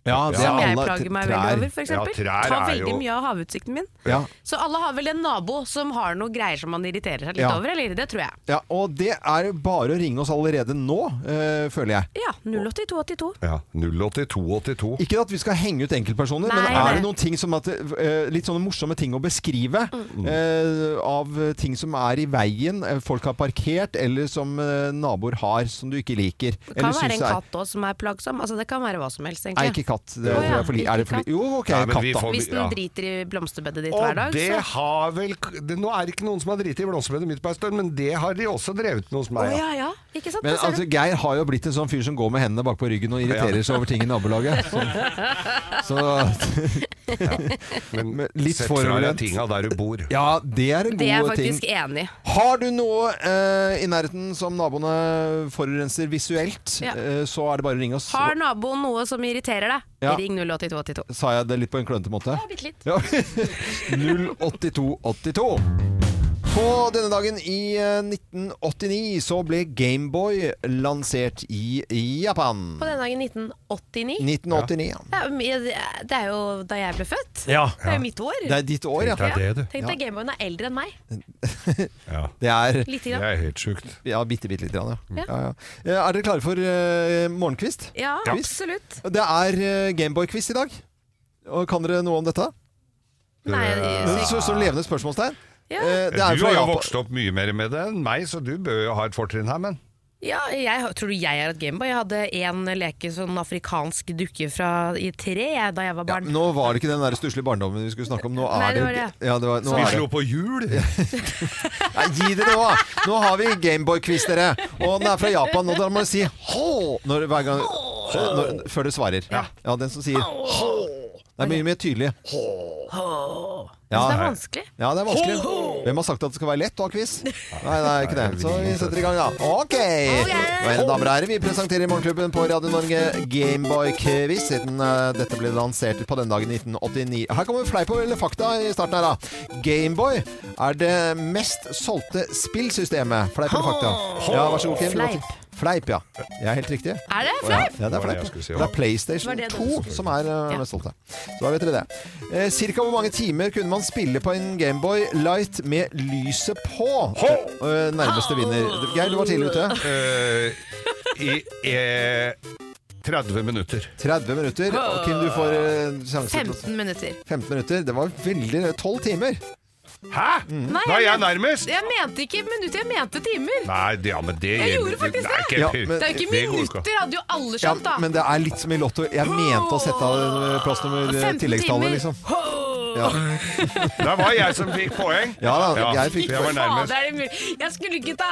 S1: Ja, det er
S3: som jeg
S1: alle
S3: plager meg
S1: trær.
S3: veldig over, f.eks.
S2: Ja, trær
S3: Tar
S2: er jo-
S3: veldig mye av havutsikten min.
S1: Ja.
S3: Så alle har vel en nabo som har noe greier som man irriterer seg litt
S1: Ja.
S3: over, eller? Det tror jeg.
S1: Ja, og det er bare å ringe oss allerede nå, eh, føler jeg.
S3: Ja. 08282.
S2: Ja, 08282.
S1: Ikke at vi skal henge ut enkeltpersoner,
S3: Nei,
S1: men er det
S3: nei.
S1: noen ting som at, eh, litt sånne morsomme ting å beskrive?
S3: Mm.
S2: Mm.
S1: eh, av ting som er i veien, eh, folk har parkert, eller som eh, naboer har som du ikke liker.
S3: Det
S1: eller
S3: kan
S1: syns
S3: være en
S1: det er-
S3: katt òg som er plagsom. Altså, det kan være hva som helst,
S1: Nei,
S3: egentlig.
S1: ikke katt. Det tror
S3: Å
S1: jeg er
S3: ja,
S1: for li-
S3: ikke
S1: er det for li-
S3: katt.
S1: Jo, ok,
S2: Ja, men vi
S1: katt da.
S2: får-
S3: Hvis den
S2: Ja.
S3: driter i blomsterbedet ditt
S2: Og
S3: hver dag,
S2: det
S3: så
S2: har vel det, Nå er det ikke noen som har driti i blomsterbedet mitt på en stund, men det har de også drevet med hos
S3: Å
S2: meg. ja.
S3: ja, ja. Ikke sant?
S1: Men
S3: Da ser du.
S1: altså, Geir har jo blitt en sånn fyr som går med hendene bak på ryggen og irriterer seg over ting i nabolaget. Så, så
S2: Men,
S1: Men litt
S2: sett fra deg
S1: forulent.
S2: tinga der du bor.
S1: ja, det er en god ting.
S3: det er jeg faktisk enig i.
S1: Har du noe eh, i nærheten som naboene forurenser visuelt,
S3: Ja.
S1: eh, så er det bare å ringe oss.
S3: Har naboen noe som irriterer deg?
S1: Ja.
S3: Ring 08282.
S1: Sa jeg det litt på en klønete måte?
S3: Ja, bitte litt.
S1: Ja. 08282. På denne dagen i eh, 1989 så ble Gameboy lansert i Japan.
S3: På denne dagen 1989.
S1: 1989, ja.
S3: Det er, jo mye- det er jo da jeg ble født.
S1: Ja.
S3: Det er jo mitt år.
S1: Det er ditt år, ja.
S2: Tenk deg det, du.
S3: Tenk deg Gameboyen er eldre enn meg.
S2: Ja.
S1: Det er
S3: Litt.
S2: Det
S3: Grann.
S2: er helt sjukt.
S1: ja, bitte, bitte lite grann, ja.
S3: Ja.
S1: ja, ja. Eh, Er dere klare for eh, morgenkvist?
S3: Ja,
S1: Ja.
S3: absolutt.
S1: Det er eh, Gameboy-quiz i dag. Og kan dere noe om dette?
S3: Nei,
S1: Men
S3: jeg-
S1: Så, så levende spørsmålstegn.
S3: Ja.
S1: Eh, det er
S2: Du
S1: fra
S2: har jo
S1: Japan.
S2: vokst opp mye mer med det enn meg, så du bør jo ha et fortrinn her, men
S3: Ja, jeg, har- tror du jeg har hatt Gameboy? Jeg hadde en leke sånn afrikansk dukke fra i tre jeg, da jeg
S1: Ja,
S3: var barn.
S1: nå var det ikke den der stusslige barndommen vi skulle snakke om. Nå er
S3: Nei, det
S1: det, jo
S3: var
S1: ikke-
S3: det.
S1: Ja, det var, nå
S2: Vi
S1: er det.
S2: slo på hjul.
S1: Nei, gi dere nå! da. Nå har vi Gameboy-quiz, dere. Og den er fra Japan, og da må du si hå når, hver gang, når, før du svarer. Ja. den som sier hå. Det er mye mer tydelig.
S3: Jeg
S1: Ja,
S3: synes det er vanskelig.
S1: ja, det er vanskelig. Hvem har sagt at det skal være lett å ha quiz? Nei, det er ikke det. Så vi setter i gang, da. Ok! Vel, damer og herrer, vi presenterer i Morgenklubben på Radio Norge Gameboy-quiz, siden eh, dette ble lansert på den dagen i 1989. Her kommer fleip eller fakta i starten her, da. Gameboy er det mest solgte spillsystemet. Fleip eller fakta? Ja, vær så god, Kim.
S3: Fleip.
S1: Fleip, ja. Jeg er helt riktig.
S3: Er det
S1: Å, ja.
S3: fleip?
S1: Ja, det er
S2: var det jeg
S1: fleip.
S2: skulle si,
S1: Det
S2: ja.
S1: er PlayStation
S3: Var det det
S1: 2 som er uh, mest solgte. Så da vet dere det. Eh, cirka hvor mange timer kunne man spille på en Gameboy Light med lyset på? Eh, nærmeste vinner. Geir, du var tidlig ute.
S2: Eh, I eh, 30 minutter.
S1: 30 minutter. Og Kim, du får uh, sjanse til å
S3: 15 minutter.
S1: 15 minutter. Det var veldig 12 timer.
S2: Hæ?!
S3: Mm.
S2: Da er jeg nærmest!
S3: Jeg mente ikke minutter, jeg mente timer.
S2: Nei, det- ja, men det
S3: Jeg gjorde faktisk
S2: er ikke
S1: Ja,
S2: helt-
S1: men-
S3: Det er jo ikke
S2: det går ikke.
S3: minutter, hadde jo alle
S1: Ja,
S3: skjønt, da.
S1: men det er litt som i Lotto. Jeg mente å sette av eh, plassnummer eh,
S3: 15
S1: tilleggstallet,
S3: timer.
S1: liksom.
S3: Ho!
S1: Ja.
S2: Der var jeg som fikk poeng.
S1: Ja da, jeg fikk-
S2: jeg var
S3: Fader,
S2: nærmest.
S3: er det mulig? Jeg skulle ikke ta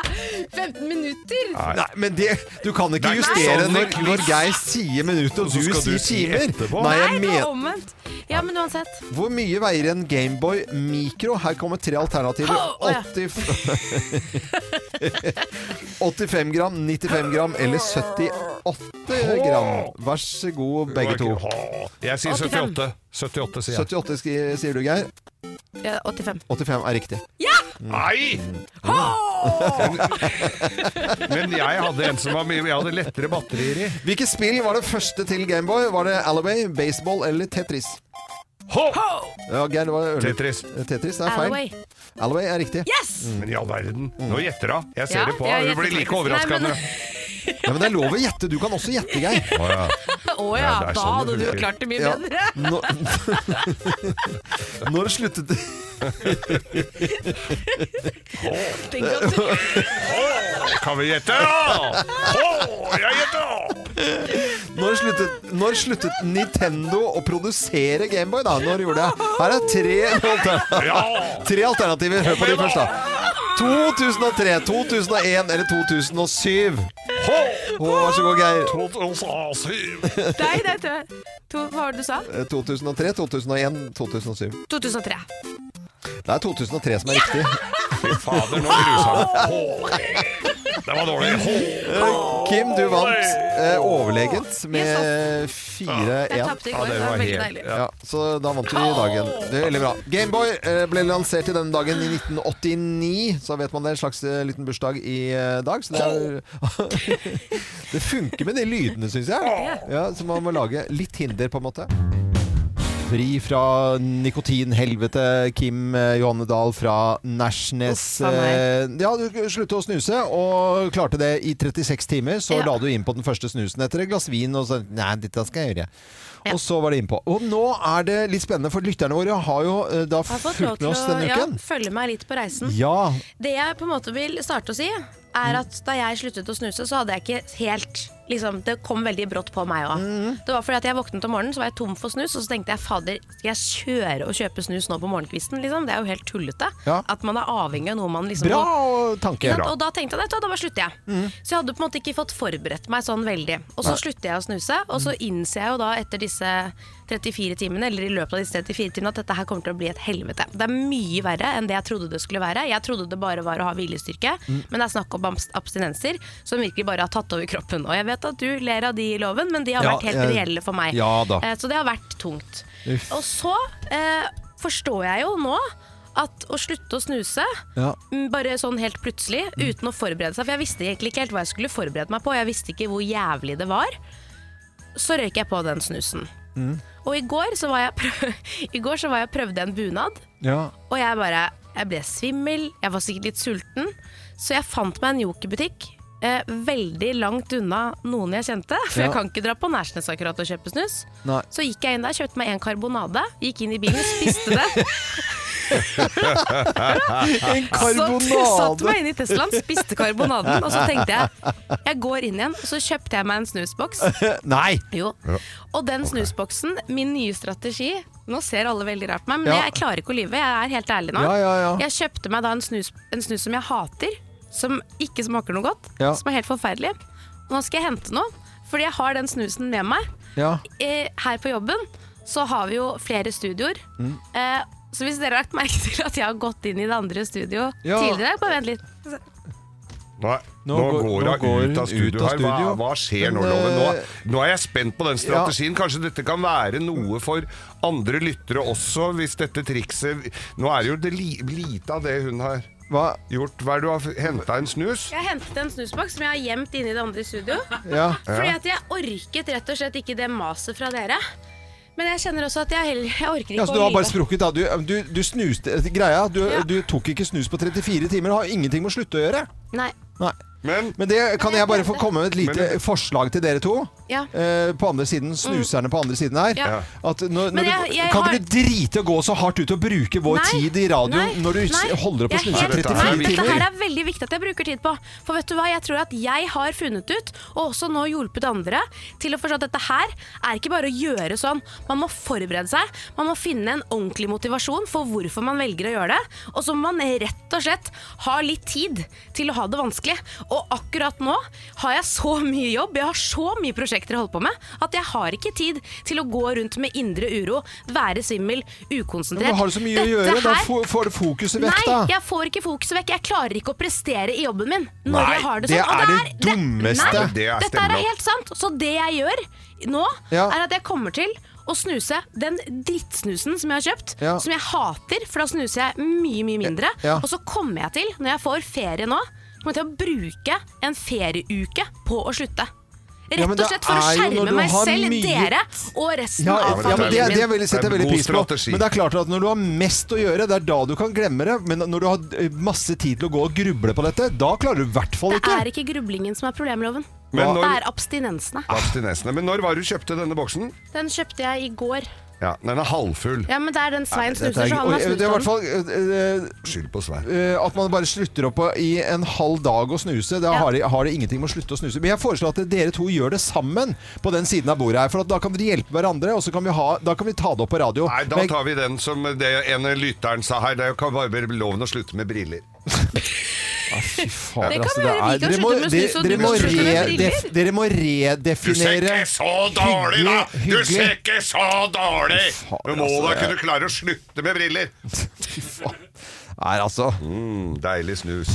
S3: 15 minutter.
S2: Nei.
S1: Nei, men det, du kan ikke
S2: Det er ikke
S1: justere
S2: sånn
S1: når,
S2: det-
S1: når Geir sier minutter og
S2: så
S1: du
S2: skal du
S1: sier
S2: si
S1: timer.
S2: etterpå.
S1: Nei,
S3: Nei,
S1: jeg
S3: det
S1: mener
S3: var omvendt. Ja, men uansett.
S1: Hvor mye veier en Gameboy Micro? Her kommer tre alternativer.
S3: Å, ja.
S1: 80 85 gram, 95 gram eller 78 gram. Vær så god, begge to.
S2: Åh, Jeg sier
S3: 85.
S2: 78. 78 sier jeg.
S1: 78 skri- sier du, Geir.
S3: Ja, 85.
S1: 85 er riktig.
S2: Nei! Men jeg hadde en som var mye Jeg hadde lettere batterier i.
S1: Hvilket spill var det første til Gameboy? Var det Alloway, Baseball eller Tetris?
S2: Ho!
S1: Ja, Geir, det var ørlig.
S2: Tetris.
S1: Tetris, det er
S3: Alloway.
S1: feil. Alloway er riktig.
S3: Yes!
S2: Men i all verden. Nå gjetter hun. Jeg ser
S3: Ja,
S2: det på
S3: jeg
S2: henne. Hun
S3: gjetter
S2: blir like
S3: faktisk.
S2: overraska.
S3: Nei, men-
S1: Ja, men det er lov å gjette. Du kan også gjette, Geir.
S2: Å, ja.
S3: Å ja,
S2: Ja, det er
S3: da
S2: sånn
S3: hadde
S2: det
S3: du
S2: funker.
S3: klart det mye
S1: Ja.
S3: bedre.
S1: Nå- Når sluttet det
S3: Tenk at du...
S2: Å, Kan vi gjette? da? Å, Jeg gjetter!
S1: Når sluttet, når sluttet Nintendo å produsere Gameboy, da? Når gjorde det? Her er tre, alter-
S2: Ja!
S1: tre alternativer. Hør på de først, da. 2003, 2001 eller 2007?
S2: Ho!
S1: Å, vær så god, Geir.
S2: Tot ons asyl.
S3: Nei, det er tø- to, Hva var det du sa?
S1: Eh, 2003, 2001, 2007.
S3: 2003.
S1: Det er 2003 som er riktig.
S2: Fy fader, nå grusa jeg meg. Ho! Det var dårlig. Ho!
S1: Kim, du vant eh, overlegent med 4-1.
S3: Jeg tapte i
S2: Ja, det
S3: går. det
S2: var
S3: var veldig
S2: helt-
S3: deilig.
S1: Ja, så da vant vi i dagen. Det er veldig bra. Gameboy eh, ble lansert i denne dagen i 1989. Så vet man det er en slags eh, liten bursdag i eh, dag. Så det, er, det funker med de lydene, syns jeg. Ja, så man må lage litt hinder, på en måte. Fri fra nikotinhelvete, Kim eh, Johanne Dahl fra Nærsnes.
S3: Uff, faen
S1: Eh,
S3: meg.
S1: Ja, du sluttet å snuse, og klarte det i 36 timer. Så
S3: Ja.
S1: la du inn på den første snusen etter et glass vin, og så Nei, dette skal jeg gjøre.
S3: Ja.
S1: Og så var det innpå. Og nå er det litt spennende, for lytterne våre har jo eh, da
S3: Jeg har fått lov
S1: fulgt med
S3: til
S1: oss
S3: å
S1: denne
S3: ja,
S1: uken.
S3: følge meg litt på reisen.
S1: Ja.
S3: Det jeg på en måte vil starte å si,
S1: Mm.
S3: er at da jeg sluttet å snuse, så hadde jeg ikke helt liksom, Det kom veldig brått på meg òg.
S1: Mm.
S3: Det var fordi at jeg våknet om morgenen, så var jeg tom for snus, og så tenkte jeg fader, skal jeg kjøre og kjøpe snus nå på morgenkvisten? Liksom? Det er jo helt tullete.
S1: Ja.
S3: At man er avhengig av noe man liksom
S1: Bra
S3: må-
S1: tanke.
S3: Ikke sant? Og da tenkte jeg at da bare slutter jeg.
S1: Mm.
S3: Så jeg hadde på en måte ikke fått forberedt meg sånn veldig. Og så slutter jeg å snuse, og
S1: Mm.
S3: så innser jeg jo da etter disse 34 timene, eller i løpet av disse 34 timene, at dette her kommer til å bli et helvete. Det er mye verre enn det jeg trodde det skulle være. Jeg trodde det bare var å ha viljestyrke,
S1: Mm.
S3: men det er snakk om abs- abstinenser som virkelig bare har tatt over kroppen. Og jeg vet at du ler av de i loven, men de har
S1: Ja,
S3: vært helt
S1: jeg-
S3: reelle for meg.
S1: Ja da.
S3: Eh, Så det har vært tungt.
S1: Uff.
S3: Og så eh, forstår jeg jo nå at å slutte å snuse
S1: Ja.
S3: Mm, Bare sånn helt plutselig,
S1: Mm.
S3: uten å forberede seg. For jeg visste egentlig ikke helt hva jeg skulle forberede meg på. Jeg visste ikke hvor jævlig det var. Så røyk jeg på den snusen.
S1: Mm.
S3: Og i går så var jeg, prøv i går så var jeg og prøvde en bunad,
S1: Ja.
S3: og jeg bare Jeg ble svimmel, jeg var sikkert litt sulten. Så jeg fant meg en jokerbutikk. Eh, veldig langt unna noen jeg kjente, for
S1: Ja.
S3: jeg kan ikke dra på Nærsnes akkurat og kjøpe snus.
S1: Nei.
S3: Så gikk jeg inn der, kjøpte meg en karbonade, gikk inn i bilen, spiste det.
S1: En
S3: Så satt
S1: karbonade!
S3: meg inn i Teslaen, spiste karbonaden, og så tenkte jeg jeg går inn igjen. Og så kjøpte jeg meg en snusboks.
S1: Nei!
S3: Jo. Og den snusboksen, min nye strategi Nå ser alle veldig rart på meg, men
S1: Ja.
S3: jeg klarer ikke å lyve. Jeg er helt ærlig nå.
S1: Ja, ja, ja.
S3: Jeg kjøpte meg da en snus, en snus som jeg hater, som ikke smaker noe godt,
S1: Ja.
S3: som er helt forferdelig. Og nå skal jeg hente noe, fordi jeg har den snusen med meg.
S1: Ja.
S3: Eh, her på jobben så har vi jo flere studioer.
S1: Mm.
S3: Eh, så hvis dere har lagt merke til at jeg har gått inn i det andre studioet
S1: Ja.
S3: tidligere Bare vent litt.
S2: Nei, nå,
S1: går-
S2: går
S1: nå går
S2: hun ut
S1: hun
S2: av studio
S1: ut av
S2: her. Hva,
S1: studio.
S2: hva skjer nå,
S1: Men,
S2: Loven?
S1: eh,
S2: Nå, nå er jeg spent på den strategien. Kanskje dette kan være noe for andre lyttere også, hvis dette trikset Nå er det jo det li, lite av det hun har
S1: Hva?
S2: gjort. Hva er det du har henta en snus?
S3: Jeg hentet en snusboks som jeg har gjemt inne i det andre studioet.
S1: Ja.
S3: Fordi at jeg orket rett og slett ikke det maset fra dere. Men jeg kjenner også at jeg, heller, jeg orker ikke
S1: Ja, så du har
S3: lyve.
S1: bare sprukket, da. Du, du, du snuste Greia, du,
S3: Ja.
S1: du tok ikke snus på 34 timer. Det har ingenting med å slutte å gjøre.
S3: Nei.
S1: Nei.
S2: Men
S1: Men det kan jeg bare få komme med et lite
S2: Men-
S1: forslag til dere to.
S3: Ja. Mm.
S1: Eh, på andre siden, Snuserne på andre siden her.
S3: Ja.
S1: At når, når
S3: jeg-
S1: du,
S3: jeg
S1: kan
S3: har-
S1: dere drite å gå så hardt ut og bruke vår
S3: Nei,
S1: tid i radioen
S3: nei,
S1: når du
S3: nei.
S1: holder opp å
S3: Jeg er
S1: snuse
S3: helt-
S1: 34
S3: nei, Dette her
S1: timer?
S3: er veldig viktig at jeg bruker tid på. For vet du hva, jeg tror at jeg har funnet ut, og også nå hjulpet andre, til å forstå at dette her er ikke bare å gjøre sånn. Man må forberede seg. Man må finne en ordentlig motivasjon for hvorfor man velger å gjøre det. Og så må man rett og slett ha litt tid til å ha det vanskelig. Og akkurat nå har jeg så mye jobb, jeg har så mye prosjekter jeg holder på med, at jeg har ikke tid til å gå rundt med indre uro, være svimmel, ukonsentrert.
S1: Men har du så mye å
S3: Dette
S1: gjøre? Da
S3: her-
S1: får- får du fokuset vekk, da.
S3: Nei, jeg får ikke fokuset vekk. Jeg klarer ikke å prestere i jobben min. Når
S1: Nei,
S3: jeg har det,
S1: det
S3: sånn. Og
S1: er
S3: er-
S1: det dummeste.
S3: Nei,
S2: Det er
S3: dette er
S2: stemmer.
S3: helt sant. Så det jeg gjør nå,
S1: Ja.
S3: er at jeg kommer til å snuse den drittsnusen som jeg har kjøpt,
S1: Ja.
S3: som jeg hater, for da snuser jeg mye, mye mindre.
S1: Ja.
S3: Og så kommer jeg til, når jeg får ferie nå, kommer jeg til å bruke en ferieuke på å slutte. Rett
S1: Ja, men
S3: og
S1: det
S3: slett for å
S1: er jo når
S3: skjerme
S1: du
S3: meg
S1: har
S3: selv,
S1: mye-
S3: dere og resten
S1: Ja,
S3: av
S2: men
S1: ja, men det,
S3: familien min.
S1: det vil jeg sette
S2: Det er en
S1: veldig
S2: god
S1: pris på.
S2: strategi.
S1: Men det er klart at når du har mest å gjøre, det er da du kan glemme det. Men når du har eh, masse tid til å gå og gruble på dette, da klarer du i hvert fall
S3: Det
S1: ikke.
S3: er ikke grublingen som er problemloven.
S2: Men
S3: Det
S2: når-
S3: er abstinensene.
S2: Abstinensene. Men når var det du kjøpte denne boksen?
S3: Den kjøpte jeg i går.
S2: Ja, Den er halvfull.
S3: Ja, men det er den Svein
S1: Dette
S3: snuser, så
S1: er-
S3: han
S1: og,
S3: har
S1: eh,
S3: snust
S1: det er i
S3: den.
S1: hvert fall eh,
S2: Skyld på Svein.
S1: eh, at man bare slutter opp å- i en halv dag å snuse. Da
S3: Ja.
S1: har, det, har det ingenting med å slutte å snuse. Men jeg foreslår at dere to gjør det sammen på den siden av bordet her. For at da kan dere hjelpe hverandre, og så kan vi, ha, da kan vi ta det opp på radio.
S2: Nei, da
S1: Men-
S2: tar vi den som det ene lytteren sa her. Det kan bare være loven å slutte med briller.
S1: Fy fader,
S3: Det kan
S1: altså,
S3: være vi kan
S1: dere
S3: slutte
S1: må-
S3: med
S1: dere-
S3: snus, og
S1: dere
S3: du
S1: må
S3: kan slutte med
S1: redef-
S3: briller.
S1: Dere må redefinere Hyggelig, hyggelig.
S2: ikke så dårlig!
S1: Faen,
S2: Du må
S1: altså,
S2: da
S1: det-
S2: kunne klare å slutte med briller!
S1: Fy faen. Nei, altså.
S2: Mm, deilig snus.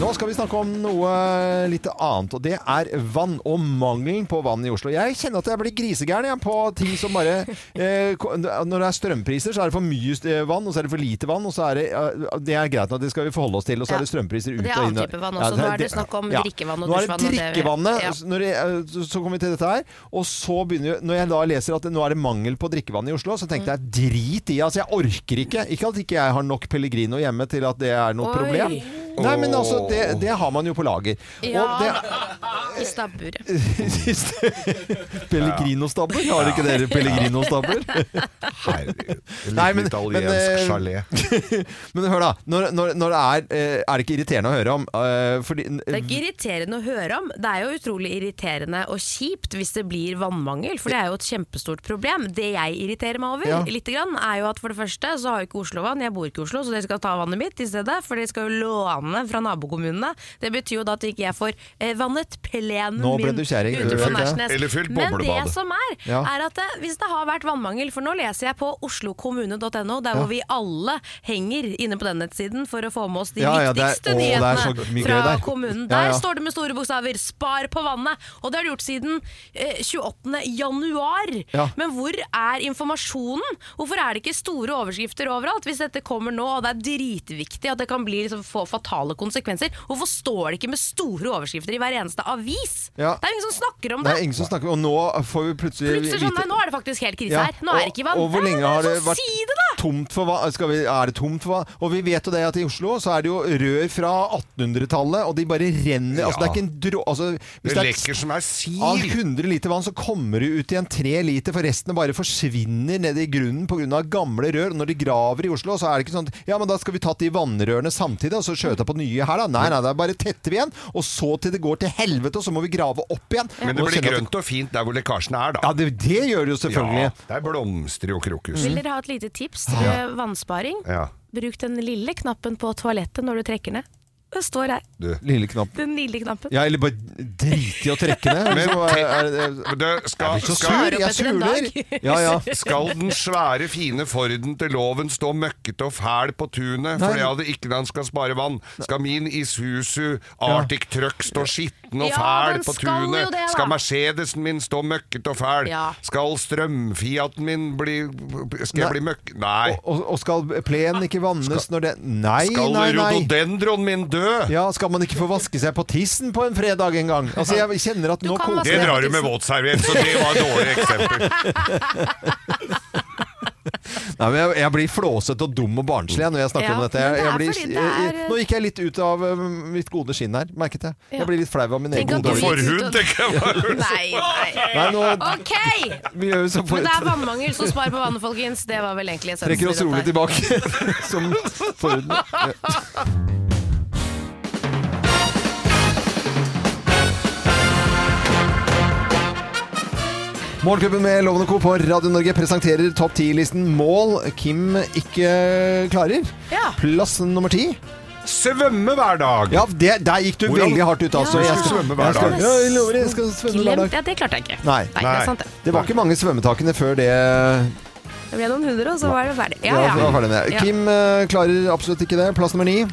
S1: Nå skal vi snakke om noe litt annet, og det er vann og mangelen på vann i Oslo. Jeg kjenner at jeg blir grisegæren jeg, på ting som bare eh, ko- Når det er strømpriser, så er det for mye st- eh, vann, og så er det for lite vann, og så er det eh, Det er greit nok, det skal vi forholde oss til, og så
S3: Ja.
S1: er det strømpriser ut
S3: Det er
S1: og
S3: annen
S1: inn. og-
S3: type vann også. Nå er det snakk om drikkevann og
S1: Nå er det
S3: dusjvann, og det-
S1: drikkevannet.
S3: ja.
S1: så når jeg, eh, så- så kommer vi til dette her, og så begynner vi Når jeg da leser at det, nå er det mangel på drikkevann i Oslo, så tenkte
S3: Mm.
S1: jeg drit i, altså jeg orker ikke. Ikke at ikke jeg har nok Pellegrino hjemme til at det er noe
S3: Oi.
S1: problem. Nei, men altså, det, det har man jo på lager.
S3: Ja.
S1: Og det,
S3: I stabburet.
S1: Pellegrino-stabber? Har ikke dere Pellegrino-stabber?
S2: Herregud.
S1: Nei, men-
S2: Litt
S1: men, eh,
S2: italiensk gelé.
S1: Men hør, da. Når, når, når det er eh, Er det ikke irriterende å høre om? Eh, Fordi
S3: Det er ikke irriterende å høre om. Det er jo utrolig irriterende og kjipt hvis det blir vannmangel, for det er jo et kjempestort problem. Det jeg irriterer meg over,
S1: Ja.
S3: lite grann, er jo at for det første så har jo ikke Oslo vann, jeg bor ikke i Oslo, så dere skal ta vannet mitt i stedet, for dere skal jo låne fra nabokommunene. Det betyr jo da at ikke jeg får eh, vannet plenen
S1: Nå ble
S3: min
S1: du kjerring,
S3: ute
S1: gjør du
S3: på
S1: ikke det?
S3: Nærsnes.
S2: Eller fylt
S3: Men det
S2: boblebadet.
S3: som er,
S1: Ja.
S3: er at eh, hvis det har vært vannmangel, for nå leser jeg på oslokommune.no, der hvor vi alle henger inne på den nettsiden for å få med oss de
S1: Ja, ja, det er-
S3: viktigste
S1: å, det er så
S3: nyhetene
S1: mye
S3: fra
S1: gøy der.
S3: kommunen.
S1: Ja,
S3: Der
S1: ja.
S3: står det med store bokstaver 'Spar på vannet', og det har de gjort siden eh, 28. januar.
S1: Ja.
S3: Men hvor er informasjonen? Hvorfor er det ikke store overskrifter overalt? Hvis dette kommer nå, og det er dritviktig at det kan bli liksom, få fatale konsekvenser, hvorfor står det ikke med store overskrifter i hver eneste avis?
S1: Ja.
S3: Det er jo ingen som snakker om
S1: Det
S3: det.
S1: er ingen som snakker om Og nå får vi plutselig
S3: Plutselig sånn, nei, nå er det faktisk helt krise
S1: Ja,
S3: her. Nå er det ikke vann.
S1: Og, og hvor
S3: Nei,
S1: lenge
S3: men
S1: har det
S3: så
S1: vært
S3: Si det, da!
S1: tomt for hva? Skal vi, er det tomt for hva? Og vi vet jo det at i Oslo så er det jo rør fra 1800-tallet, og de bare renner. Altså, det er ikke en drå... Altså, hvis
S2: Det
S1: det er
S2: lekker som ei sil.
S1: av 100 liter vann så kommer det ut igjen 3 liter, for resten bare forsvinner ned i grunnen pga. gamle rør. Og når de graver i Oslo, så er det ikke sånn at, ja, men da skal vi tatt de vannrørene samtidig, og så skjøta på nye her, da. Nei, nei, det er bare tetter vi igjen, og så til det går til helvete, og så må vi grave opp igjen.
S2: Men det
S1: Og
S2: blir
S1: kjenner at-
S2: grønt og fint der hvor lekkasjen er, da.
S1: Ja, det, det gjør det jo selvfølgelig. Mm.
S2: Ja, der blomstrer jo krokus.
S3: Vil dere ha et lite tips til eh, vannsparing?
S2: Ja,
S3: Bruk den lille knappen på toalettet når du trekker ned. Det står her.
S2: du.
S1: Lille knapp.
S3: Den lille knappen.
S1: Ja, eller bare drite i å trekke ned.
S2: Men-
S1: så er, er, er,
S2: Men Du, skal,
S1: blir så
S2: skal,
S1: sur,
S3: Svarer opp
S1: jeg
S3: etter en
S1: suler.
S3: dag.
S1: Ja, ja.
S2: skal den svære, fine Forden til loven stå møkkete og fæl på tunet
S1: Nei.
S2: fordi jeg hadde ikke den skal spare vann? Skal min Isuzu Arctic Truck stå skitten og
S3: Ja,
S2: fæl
S3: den
S2: på
S3: skal jo
S2: tunet?
S3: det, da.
S2: Skal Mercedesen min stå møkkete og fæl?
S3: Ja.
S2: Skal strømfiaten min bli Skal
S1: Nei.
S2: jeg bli møkk... Nei.
S1: Og, og skal plenen ikke vannes når det Nei,
S2: Skal
S1: nei, nei.
S2: rododendroen min dø?
S1: Ja, skal man ikke få vaske seg på tissen på en fredag en gang? Altså, jeg kjenner at
S3: Du
S1: nå
S3: kan
S1: koker
S3: vaske
S2: Det
S1: det.
S2: drar du med våtserviett, så det var et dårlig eksempel.
S1: Nei, men jeg, jeg blir flåsete og dum og barnslig jeg, når jeg snakker
S3: Ja,
S1: om dette.
S3: men
S1: Jeg,
S3: det
S1: jeg
S3: er
S1: blir,
S3: fordi det
S1: jeg,
S3: er-
S1: nå gikk jeg litt ut av øh, mitt gode skinn her, merket jeg.
S3: Ja.
S1: Jeg blir litt flau av min
S3: Tenk
S1: egen
S3: at du
S1: dårlige-
S3: gikk
S2: Forhud,
S3: ut og-
S2: tenker jeg bare.
S3: Nei, nei.
S1: Nei, nå
S3: Ok!
S1: vi gjør vi så
S3: Men det er
S1: for...
S3: vannmangel, så spar på vannet, folkens. Det var vel egentlig essensen. i
S1: Trekker oss
S3: dette
S1: rolig
S3: her.
S1: tilbake. Som forhuden. Morgenklubben med Loven og Co. på Radio Norge presenterer topp 10-listen mål Kim ikke klarer.
S3: Ja.
S1: Plass nummer ti.
S2: Svømme hver dag.
S1: Ja, det, der gikk du
S2: Hvordan-
S1: veldig hardt ut, altså.
S3: Ja.
S1: Jeg skal
S2: Svømme hver
S1: jeg skal-
S2: dag.
S1: Ja, jeg lover, jeg skal svømme hver
S3: Glemt,
S1: dag.
S3: ja, det klarte jeg ikke.
S1: Nei.
S3: Nei, det
S2: Nei.
S3: er sant det.
S1: Det var ikke mange svømmetakene før det
S3: Det ble noen hundre, og så var det ferdig.
S1: ja,
S3: Ja,
S1: var
S3: ja.
S1: ferdig med.
S3: Ja.
S1: Kim eh, klarer absolutt ikke det. Plass nummer ni.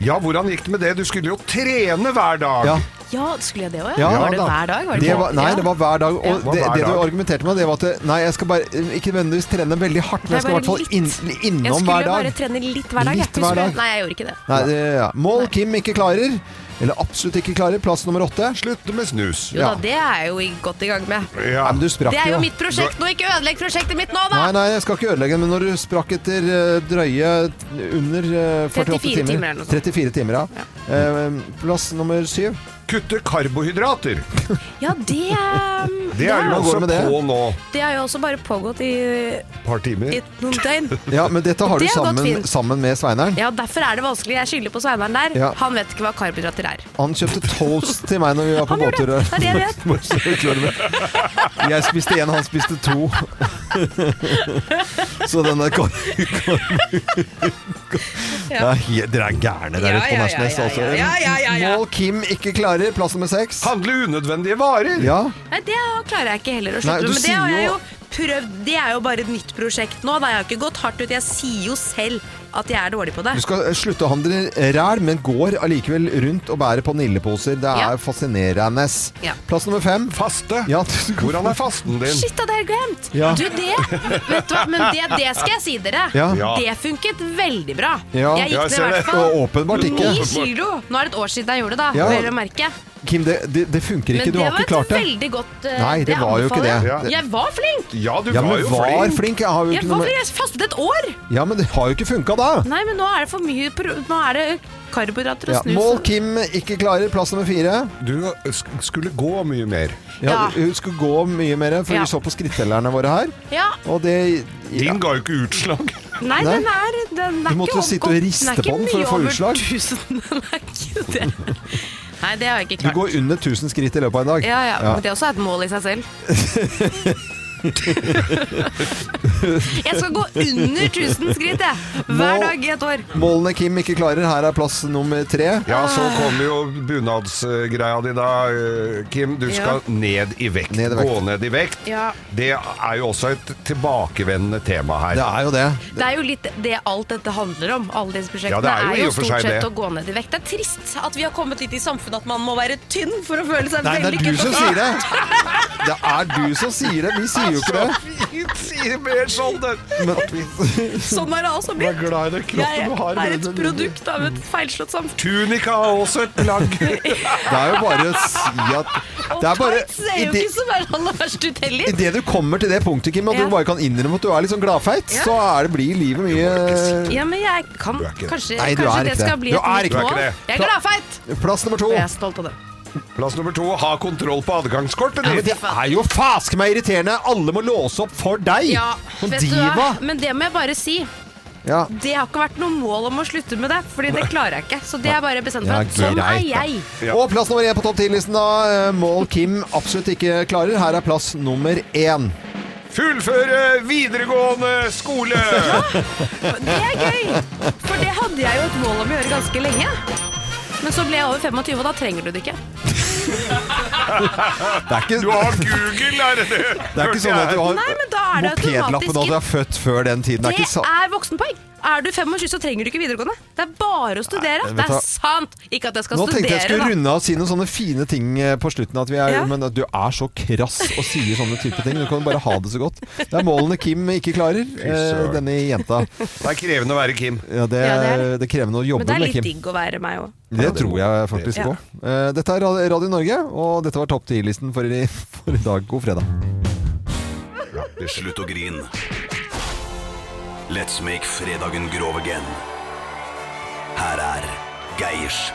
S2: Ja, hvordan gikk det med det? Du skulle jo trene hver dag.
S1: Ja.
S3: ja, skulle jeg det òg, ja?
S1: Ja,
S3: Var det
S1: da.
S3: hver dag? Var det
S1: Det
S3: ikke?
S1: var, nei,
S3: Ja.
S1: det var hver dag. Og
S2: var
S1: det,
S2: hver
S1: det du
S2: dag.
S1: argumenterte med, det var at nei, jeg skal bare ikke nødvendigvis trene veldig hardt, men jeg
S3: Nei,
S1: skal i hvert
S3: bare
S1: fall inn,
S3: Jeg
S1: innom
S3: skulle
S1: hver dag.
S3: bare trene litt hver dag. jeg.
S1: Litt hver
S3: Husker du?
S1: dag.
S3: Nei, jeg gjorde ikke det.
S1: Nei, det, ja. Mål Kim ikke klarer, eller absolutt ikke klarer. Plass nummer åtte.
S2: Slutte med snus.
S3: Jo da,
S1: Ja.
S3: det er jeg jo i- godt i gang med.
S2: Ja.
S1: Nei, men du sprakk
S3: Det er jo
S1: jo.
S3: mitt prosjekt nå, ikke ødelegg prosjektet mitt nå,
S1: Nei,
S3: da!
S1: nei, jeg skal ikke ødelegge, men når du sprakk etter eh, drøye t- under eh, 48
S3: 34
S1: timer,
S3: timer eller noe sånt.
S1: 34 timer, ja. Eh, plass nummer syv.
S2: Kutte karbohydrater.
S3: Ja, det um,
S2: Det er jo
S1: Hva går
S2: også
S1: det med det?
S2: på nå.
S3: Det har jo også bare pågått i,
S2: Et par timer.
S3: i noen døgn.
S1: Ja, men dette har
S3: Det
S1: du
S3: har gått
S1: sammen,
S3: fint.
S1: sammen med Sveineren.
S3: Ja, derfor er det vanskelig. Jeg skylder på Sveinaren der.
S1: Ja.
S3: Han vet ikke hva karbohydrater er.
S1: Han kjøpte toast til meg når vi var på
S3: Han gjorde
S1: båttur.
S3: det. Det er det jeg vet.
S1: Bare så du er klar over. Jeg spiste én, han spiste to. Så den der kar...
S3: Ja.
S1: Nei, dere er gærne der ute på Nesjnes, altså. Mål Kim ikke klarer, plass nummer seks.
S2: Handle unødvendige varer.
S1: Ja,
S3: Nei, det klarer jeg ikke heller å
S1: Nei,
S3: slutte
S1: du
S3: med. Men det har
S1: sier
S3: jeg
S1: jo-
S3: jo prøvd. Det er jo bare et nytt prosjekt nå. Da jeg har ikke gått hardt ut. Jeg sier jo selv at jeg er dårlig på det.
S1: du skal slutte å handle ræl, men går allikevel rundt og bærer på nilleposer. Det
S3: Ja.
S1: er fascinerende.
S3: Ja.
S1: Plass nummer fem.
S2: Faste.
S1: Ja, du skal-
S2: Hvordan er fasten din?
S3: Shit, det hadde jeg glemt!
S1: Ja.
S3: Du, det Vet du hva, men det, det skal jeg si dere.
S1: Ja.
S2: Ja.
S3: Det funket veldig bra.
S1: Ja.
S3: Jeg
S2: Ja, jeg
S3: gikk ned i
S2: ser det.
S3: hvert fall
S1: Og åpenbart ikke.
S3: ni kilo. Nå er det et år siden jeg gjorde det, da.
S1: Ja.
S3: Vel å merke.
S1: Kim, det, det, det funker
S3: Men
S1: ikke. Du
S3: det
S1: har
S3: var
S1: ikke klart
S3: et
S1: det.
S3: veldig godt eh,
S1: Nei, det var jo ikke
S3: anbefaler
S1: det.
S3: jeg. Jeg var flink!
S2: Ja, du
S1: Ja,
S2: var
S1: men
S2: jo
S1: var
S2: flink.
S1: flink. Jeg har jo
S3: Jeg
S1: ikke
S3: var
S1: noe med
S3: flink. Jeg fastet et år!
S1: Ja, men det har jo ikke funka da.
S3: Nei, men nå er det for mye pro Nå er det karbohydrater og
S1: Ja.
S3: snus.
S1: Mål Kim ikke klarer, plass nummer fire.
S2: Du sk- skulle gå mye mer.
S1: Ja,
S3: Ja.
S1: Hun skulle gå mye mer, for
S3: Ja.
S1: vi så på skrittellerne våre her.
S3: Ja,
S1: Og det ja.
S2: Din ga jo ikke utslag.
S3: nei,
S1: Nei.
S3: den er, den er
S1: Du måtte
S3: ikke
S1: jo sitte og
S3: oppgå- den er
S1: riste
S3: ikke
S1: på den for å
S3: mye
S1: få
S3: over
S1: utslag.
S3: 1000, Den er ikke det. Nei, det har jeg
S1: Du
S3: ikke klart.
S1: går under 1000 skritt i løpet av en dag.
S3: Ja, ja, Men det er også et mål i seg selv. jeg skal gå under 1000 skritt, jeg.
S1: Mål-
S3: Hver dag i et år.
S1: Målene Kim ikke klarer, her er plass nummer tre.
S2: Ja, så
S1: ah.
S2: kommer jo bunadsgreia di da, eh, Kim. Du skal ned i vekt.
S1: Ned i vekt.
S2: Gå ned i vekt.
S3: Ja.
S2: Det er jo også et tilbakevendende tema her.
S1: Det er jo det.
S3: Det er jo litt det alt dette handler om. Alle disse prosjektene
S2: Ja, det er jo i og for
S3: stort
S2: seg
S3: sett
S2: det.
S3: å gå ned i vekt. Det er trist at vi har kommet litt i samfunnet at man må være tynn for å føle seg
S1: Nei, det er
S3: vellykket.
S1: du som sier det! Det er du som sier det, vi sier jo ikke det.
S2: Ingen sier mer sånn det.
S3: Sånn er det altså
S1: Du er
S3: blitt.
S1: glad i den
S3: Jeg
S1: kroppen du har.
S3: er et
S1: men-
S3: produkt av et feilslått samfunn.
S2: Tunika har også et plagg.
S1: Det er jo bare å si at Det er bare
S3: Tights er
S1: i
S3: jo
S1: det-
S3: ikke så ver- aller verst ut heller.
S1: Idet du kommer til det punktet, Kim, at
S3: Ja.
S1: du bare kan innrømme at du er litt sånn gladfeit,
S3: Ja.
S1: så er det, blir livet mye
S3: Ja, men jeg kan
S2: Du er ikke det.
S3: Kanskje,
S1: Nei, du
S3: kanskje
S1: er
S3: det
S1: ikke det.
S3: skal bli
S1: Du
S3: et
S1: er
S3: nytt
S1: ikke
S2: det.
S3: mål.
S2: Du er ikke det.
S3: Jeg er gladfeit!
S1: eh, Plass nummer to.
S3: Og jeg er stolt av det.
S2: Plass nummer to ha kontroll på adgangskortet
S1: Men
S2: ditt.
S1: det er jo faske meg irriterende! Alle må låse opp for deg!
S3: Ja,
S1: Som
S3: vet du hva?
S1: diva!
S3: Men det må jeg bare si.
S1: Ja.
S3: Det har ikke vært noe mål om å slutte med det, Fordi det klarer jeg ikke. Så det er bare bestemt
S1: Ja,
S3: for. at Sånn er
S1: greit, da.
S3: jeg.
S2: Ja.
S1: Og plass nummer én på topp 10-listen, da. eh, Mål Kim absolutt ikke klarer. Her er plass nummer én.
S2: Fullføre videregående skole!
S3: Det er gøy! For det hadde jeg jo et mål om å gjøre ganske lenge. Men så ble jeg over 25, og da trenger du det ikke.
S1: Det er ikke,
S2: Du har Google, er det det?
S1: det er ikke sånn at du har
S3: Nei, men da er det automatisk
S1: mopedlappen og at du er født før den tiden. Det er
S3: Det
S1: ikke sant.
S3: er voksenpoeng. Er du 25, så trenger du ikke videregående. Det er bare å studere.
S1: Nei, vet
S3: Det
S1: du hva?
S3: er sant! Ikke at jeg skal
S1: Nå
S3: studere,
S1: tenkte jeg skulle
S3: da.
S1: runde av og si noen sånne fine ting eh, på slutten, at vi er,
S3: Ja.
S1: men at du er så krass og sier sånne type ting. Du kan bare ha det så godt. Det er målene Kim ikke klarer, eh,
S2: søren.
S1: denne jenta.
S2: Det er krevende å være Kim.
S1: Ja, det,
S3: Ja, det
S1: er,
S3: er
S1: det er krevende å jobbe
S3: Men det er
S1: med
S3: litt
S1: Kim.
S3: digg å være meg òg.
S1: Det tror jeg faktisk
S3: Ja.
S1: på. Eh, Dette er Radio Radio Norge, og dette var Topp 10-listen for, i- for i dag. God fredag.
S9: Slutt å grin. Let's make fredagen grov again. Her er Geirs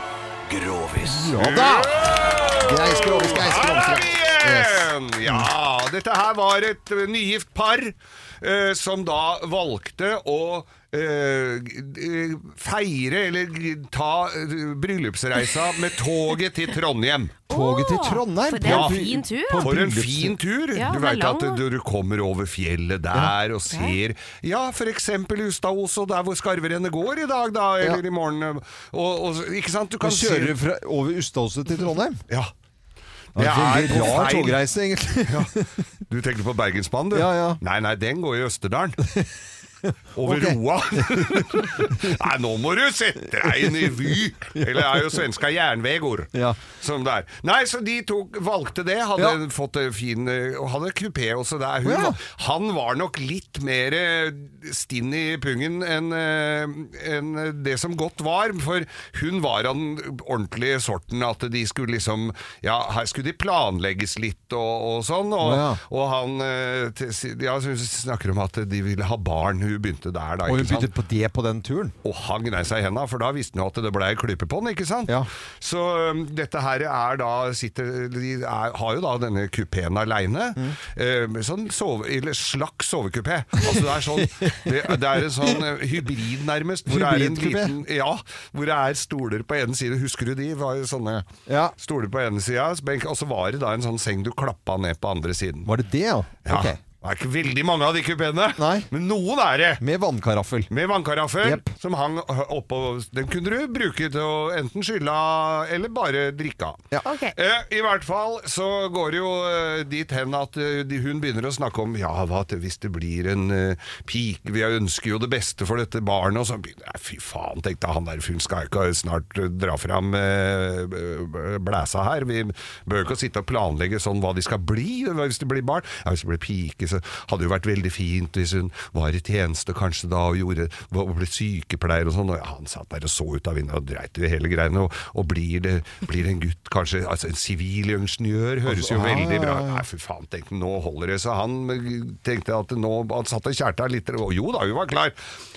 S9: Grovis.
S1: Ja da! Geis Grovis, Geis
S2: Her
S1: Grovis.
S2: er vi igjen! Ja, dette her var et ø, nygift par ø, som da valgte å ø, g- ø, feire eller g- ta ø, bryllupsreisa med toget til Trondheim.
S1: Toget til Trondheim.
S3: For det er en
S1: på-
S3: fin tur,
S1: på
S3: da.
S2: For en
S1: bryllups-
S2: fin tur!
S3: Ja,
S2: du
S3: den er
S2: veit at
S3: lang,
S2: du, du kommer over fjellet der og ser Ja, f.eks. Ustaos og der hvor skarverennet går i dag, da, eller
S1: Ja.
S2: i morgen. ø, Og, og, ikke sant? Du
S1: Du
S2: kan
S1: kjører
S2: se
S1: fra, over Ustadhuset til Trondheim.
S2: Ja.
S1: Det er en veldig
S2: på
S1: rar
S2: feil-
S1: togreise, egentlig.
S2: Du tenker på Bergensbanen, du?
S1: Ja, ja.
S2: Nei, nei, den går i Østerdalen. Over
S1: Ok.
S2: Roa. nei, nå må du sette deg inn i Vy! Eller det er jo svenska jernvegor.
S1: Ja.
S2: Som det er. Nei, så de tok, valgte det. Hadde
S1: Ja.
S2: fått en fin eh, Og hadde kupé også der. Hun,
S1: Å, ja.
S2: var- Han var nok litt mer eh, stinn i pungen enn eh, enn det som godt var. For hun var av den ordentlige sorten at de skulle liksom Ja, her skulle de planlegges litt og, og sånn. Og,
S1: Å, ja.
S2: og han eh, til si- Ja, så hun snakker om at de ville ha barn. Hun begynte der, da.
S1: Og hun
S2: ikke sant?
S1: begynte på det på den turen.
S2: Og han gnei seg i henda, for da visste han jo at det blei klype på den, ikke sant?
S1: Ja.
S2: Så øhm, dette her er da sitter, De er, har jo da denne kupeen aleine.
S1: Mm.
S2: sånn sove, eller slakk sovekupé. Altså det er sånn det, det er en sånn øh, hybrid, nærmest. Hvor det er en
S1: Hybridkupé.
S2: liten Ja, hvor det er stoler på ene side. Husker du de? var jo sånne
S1: Ja.
S2: Stoler på ene sida, benk, og så var det da en sånn seng du klappa ned på andre siden.
S1: Var det det, ja?
S2: Ja.
S1: Ok.
S2: Det er ikke veldig mange av de kupeene,
S1: Nei.
S2: men noen er det.
S1: Med vannkaraffel.
S2: Med vannkaraffer
S1: Jepp.
S2: som hang oppå Den kunne du bruke til å enten skylle av eller bare drikke av.
S1: Ja.
S3: Ok.
S2: Eh, I hvert fall så går det jo eh, dit hen at eh, de- hun begynner å snakke om Ja, hva til hvis det blir en eh, pike Vi ønsker jo det beste for dette barnet. Og så begynner jeg, Fy faen, tenkte han der, hun skal ikke snart eh, dra fram eh, b- blæsa her. Vi bør ikke sitte og planlegge sånn hva de skal bli hva hvis det blir barn. Ja, hvis det blir pike, så hadde det jo vært veldig fint hvis hun var i tjeneste kanskje da og gjorde, og ble sykepleier og sånn. Og ja, han satt der og så ut av vinduet og dreit i hele greiene. Og, og blir, det, blir det en gutt kanskje altså En sivilingeniør høres
S1: Altså, ah,
S2: jo veldig bra ut. Nei, fy faen, tenkte han, nå holder det. Så han tenkte at nå han satt og kjærte litt. Og jo da, hun var klar.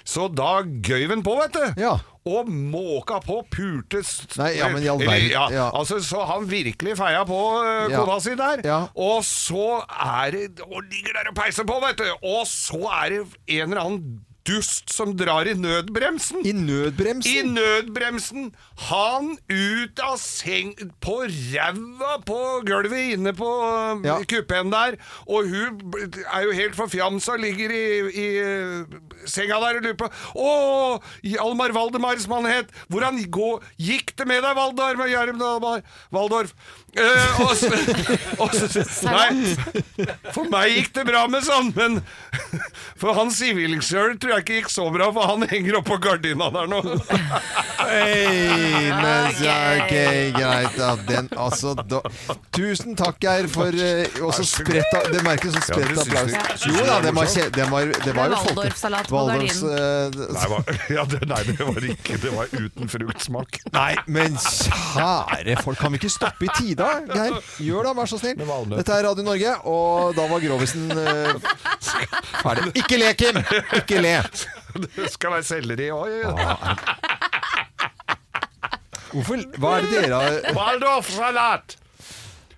S2: Så da gøyv han på, vet du.
S1: Ja.
S2: Og måka på, pulte st-
S1: Nei, ja, men i all
S2: Eller,
S1: verden,
S2: ja,
S1: ja.
S2: Altså, Så han virkelig feia på øh,
S1: Ja.
S2: kona si der.
S1: Ja.
S2: Og så er det Og ligger der og peiser på, vet du! Og så er det en eller annen dust som drar i nødbremsen!
S1: I nødbremsen?
S2: I nødbremsen! Han ut av seng På ræva på gulvet inne på øh,
S1: Ja.
S2: kupeen der. Og hun b- er jo helt forfjamsa, ligger i, i øh, senga der og lurer på Å, Almar Valdemar, som han het! Hvordan gå, gikk det med deg, Valdar? Med Jarm Dalmar- Valdorf? Eh, og så, og så, nei, for meg gikk det bra med sånn, men for han sivilingeniøren tror tror jeg ikke gikk så bra, for han henger oppå gardina der nå.
S1: Hei, mens jeg Ok, greit. Ja, den, altså, da. Tusen takk, Geir, for eh, også spredt av- Det merkes som spredt
S2: Ja, du syns
S1: applaus.
S2: det- syns
S1: Jo
S2: det
S1: da,
S2: var
S1: det var,
S2: morsomt?
S1: kje- det var, det var jo
S10: Det er
S1: folke-
S10: Waldorfsalat på
S1: Waldorfs, eh,
S2: Nei, hva- ja, det, nei, det var ikke Det var uten fruktsmak.
S1: Nei, men kjære folk, kan vi ikke stoppe i tida, Geir? Gjør da, vær så snill.
S2: Med valnøtt.
S1: Dette er Radio Norge, og da var Grovisen eh, ferdig. Ikke le, Kim! Ikke le!
S2: Det skal være selleri òg.
S1: Hvorfor, hva er det dere har
S2: Waldorfsalat!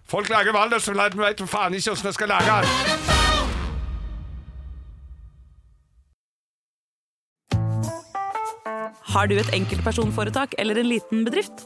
S2: Folk lager waldorfsalat, men veit faen ikke åssen jeg skal lage den.
S3: Har du et enkeltpersonforetak eller en liten bedrift?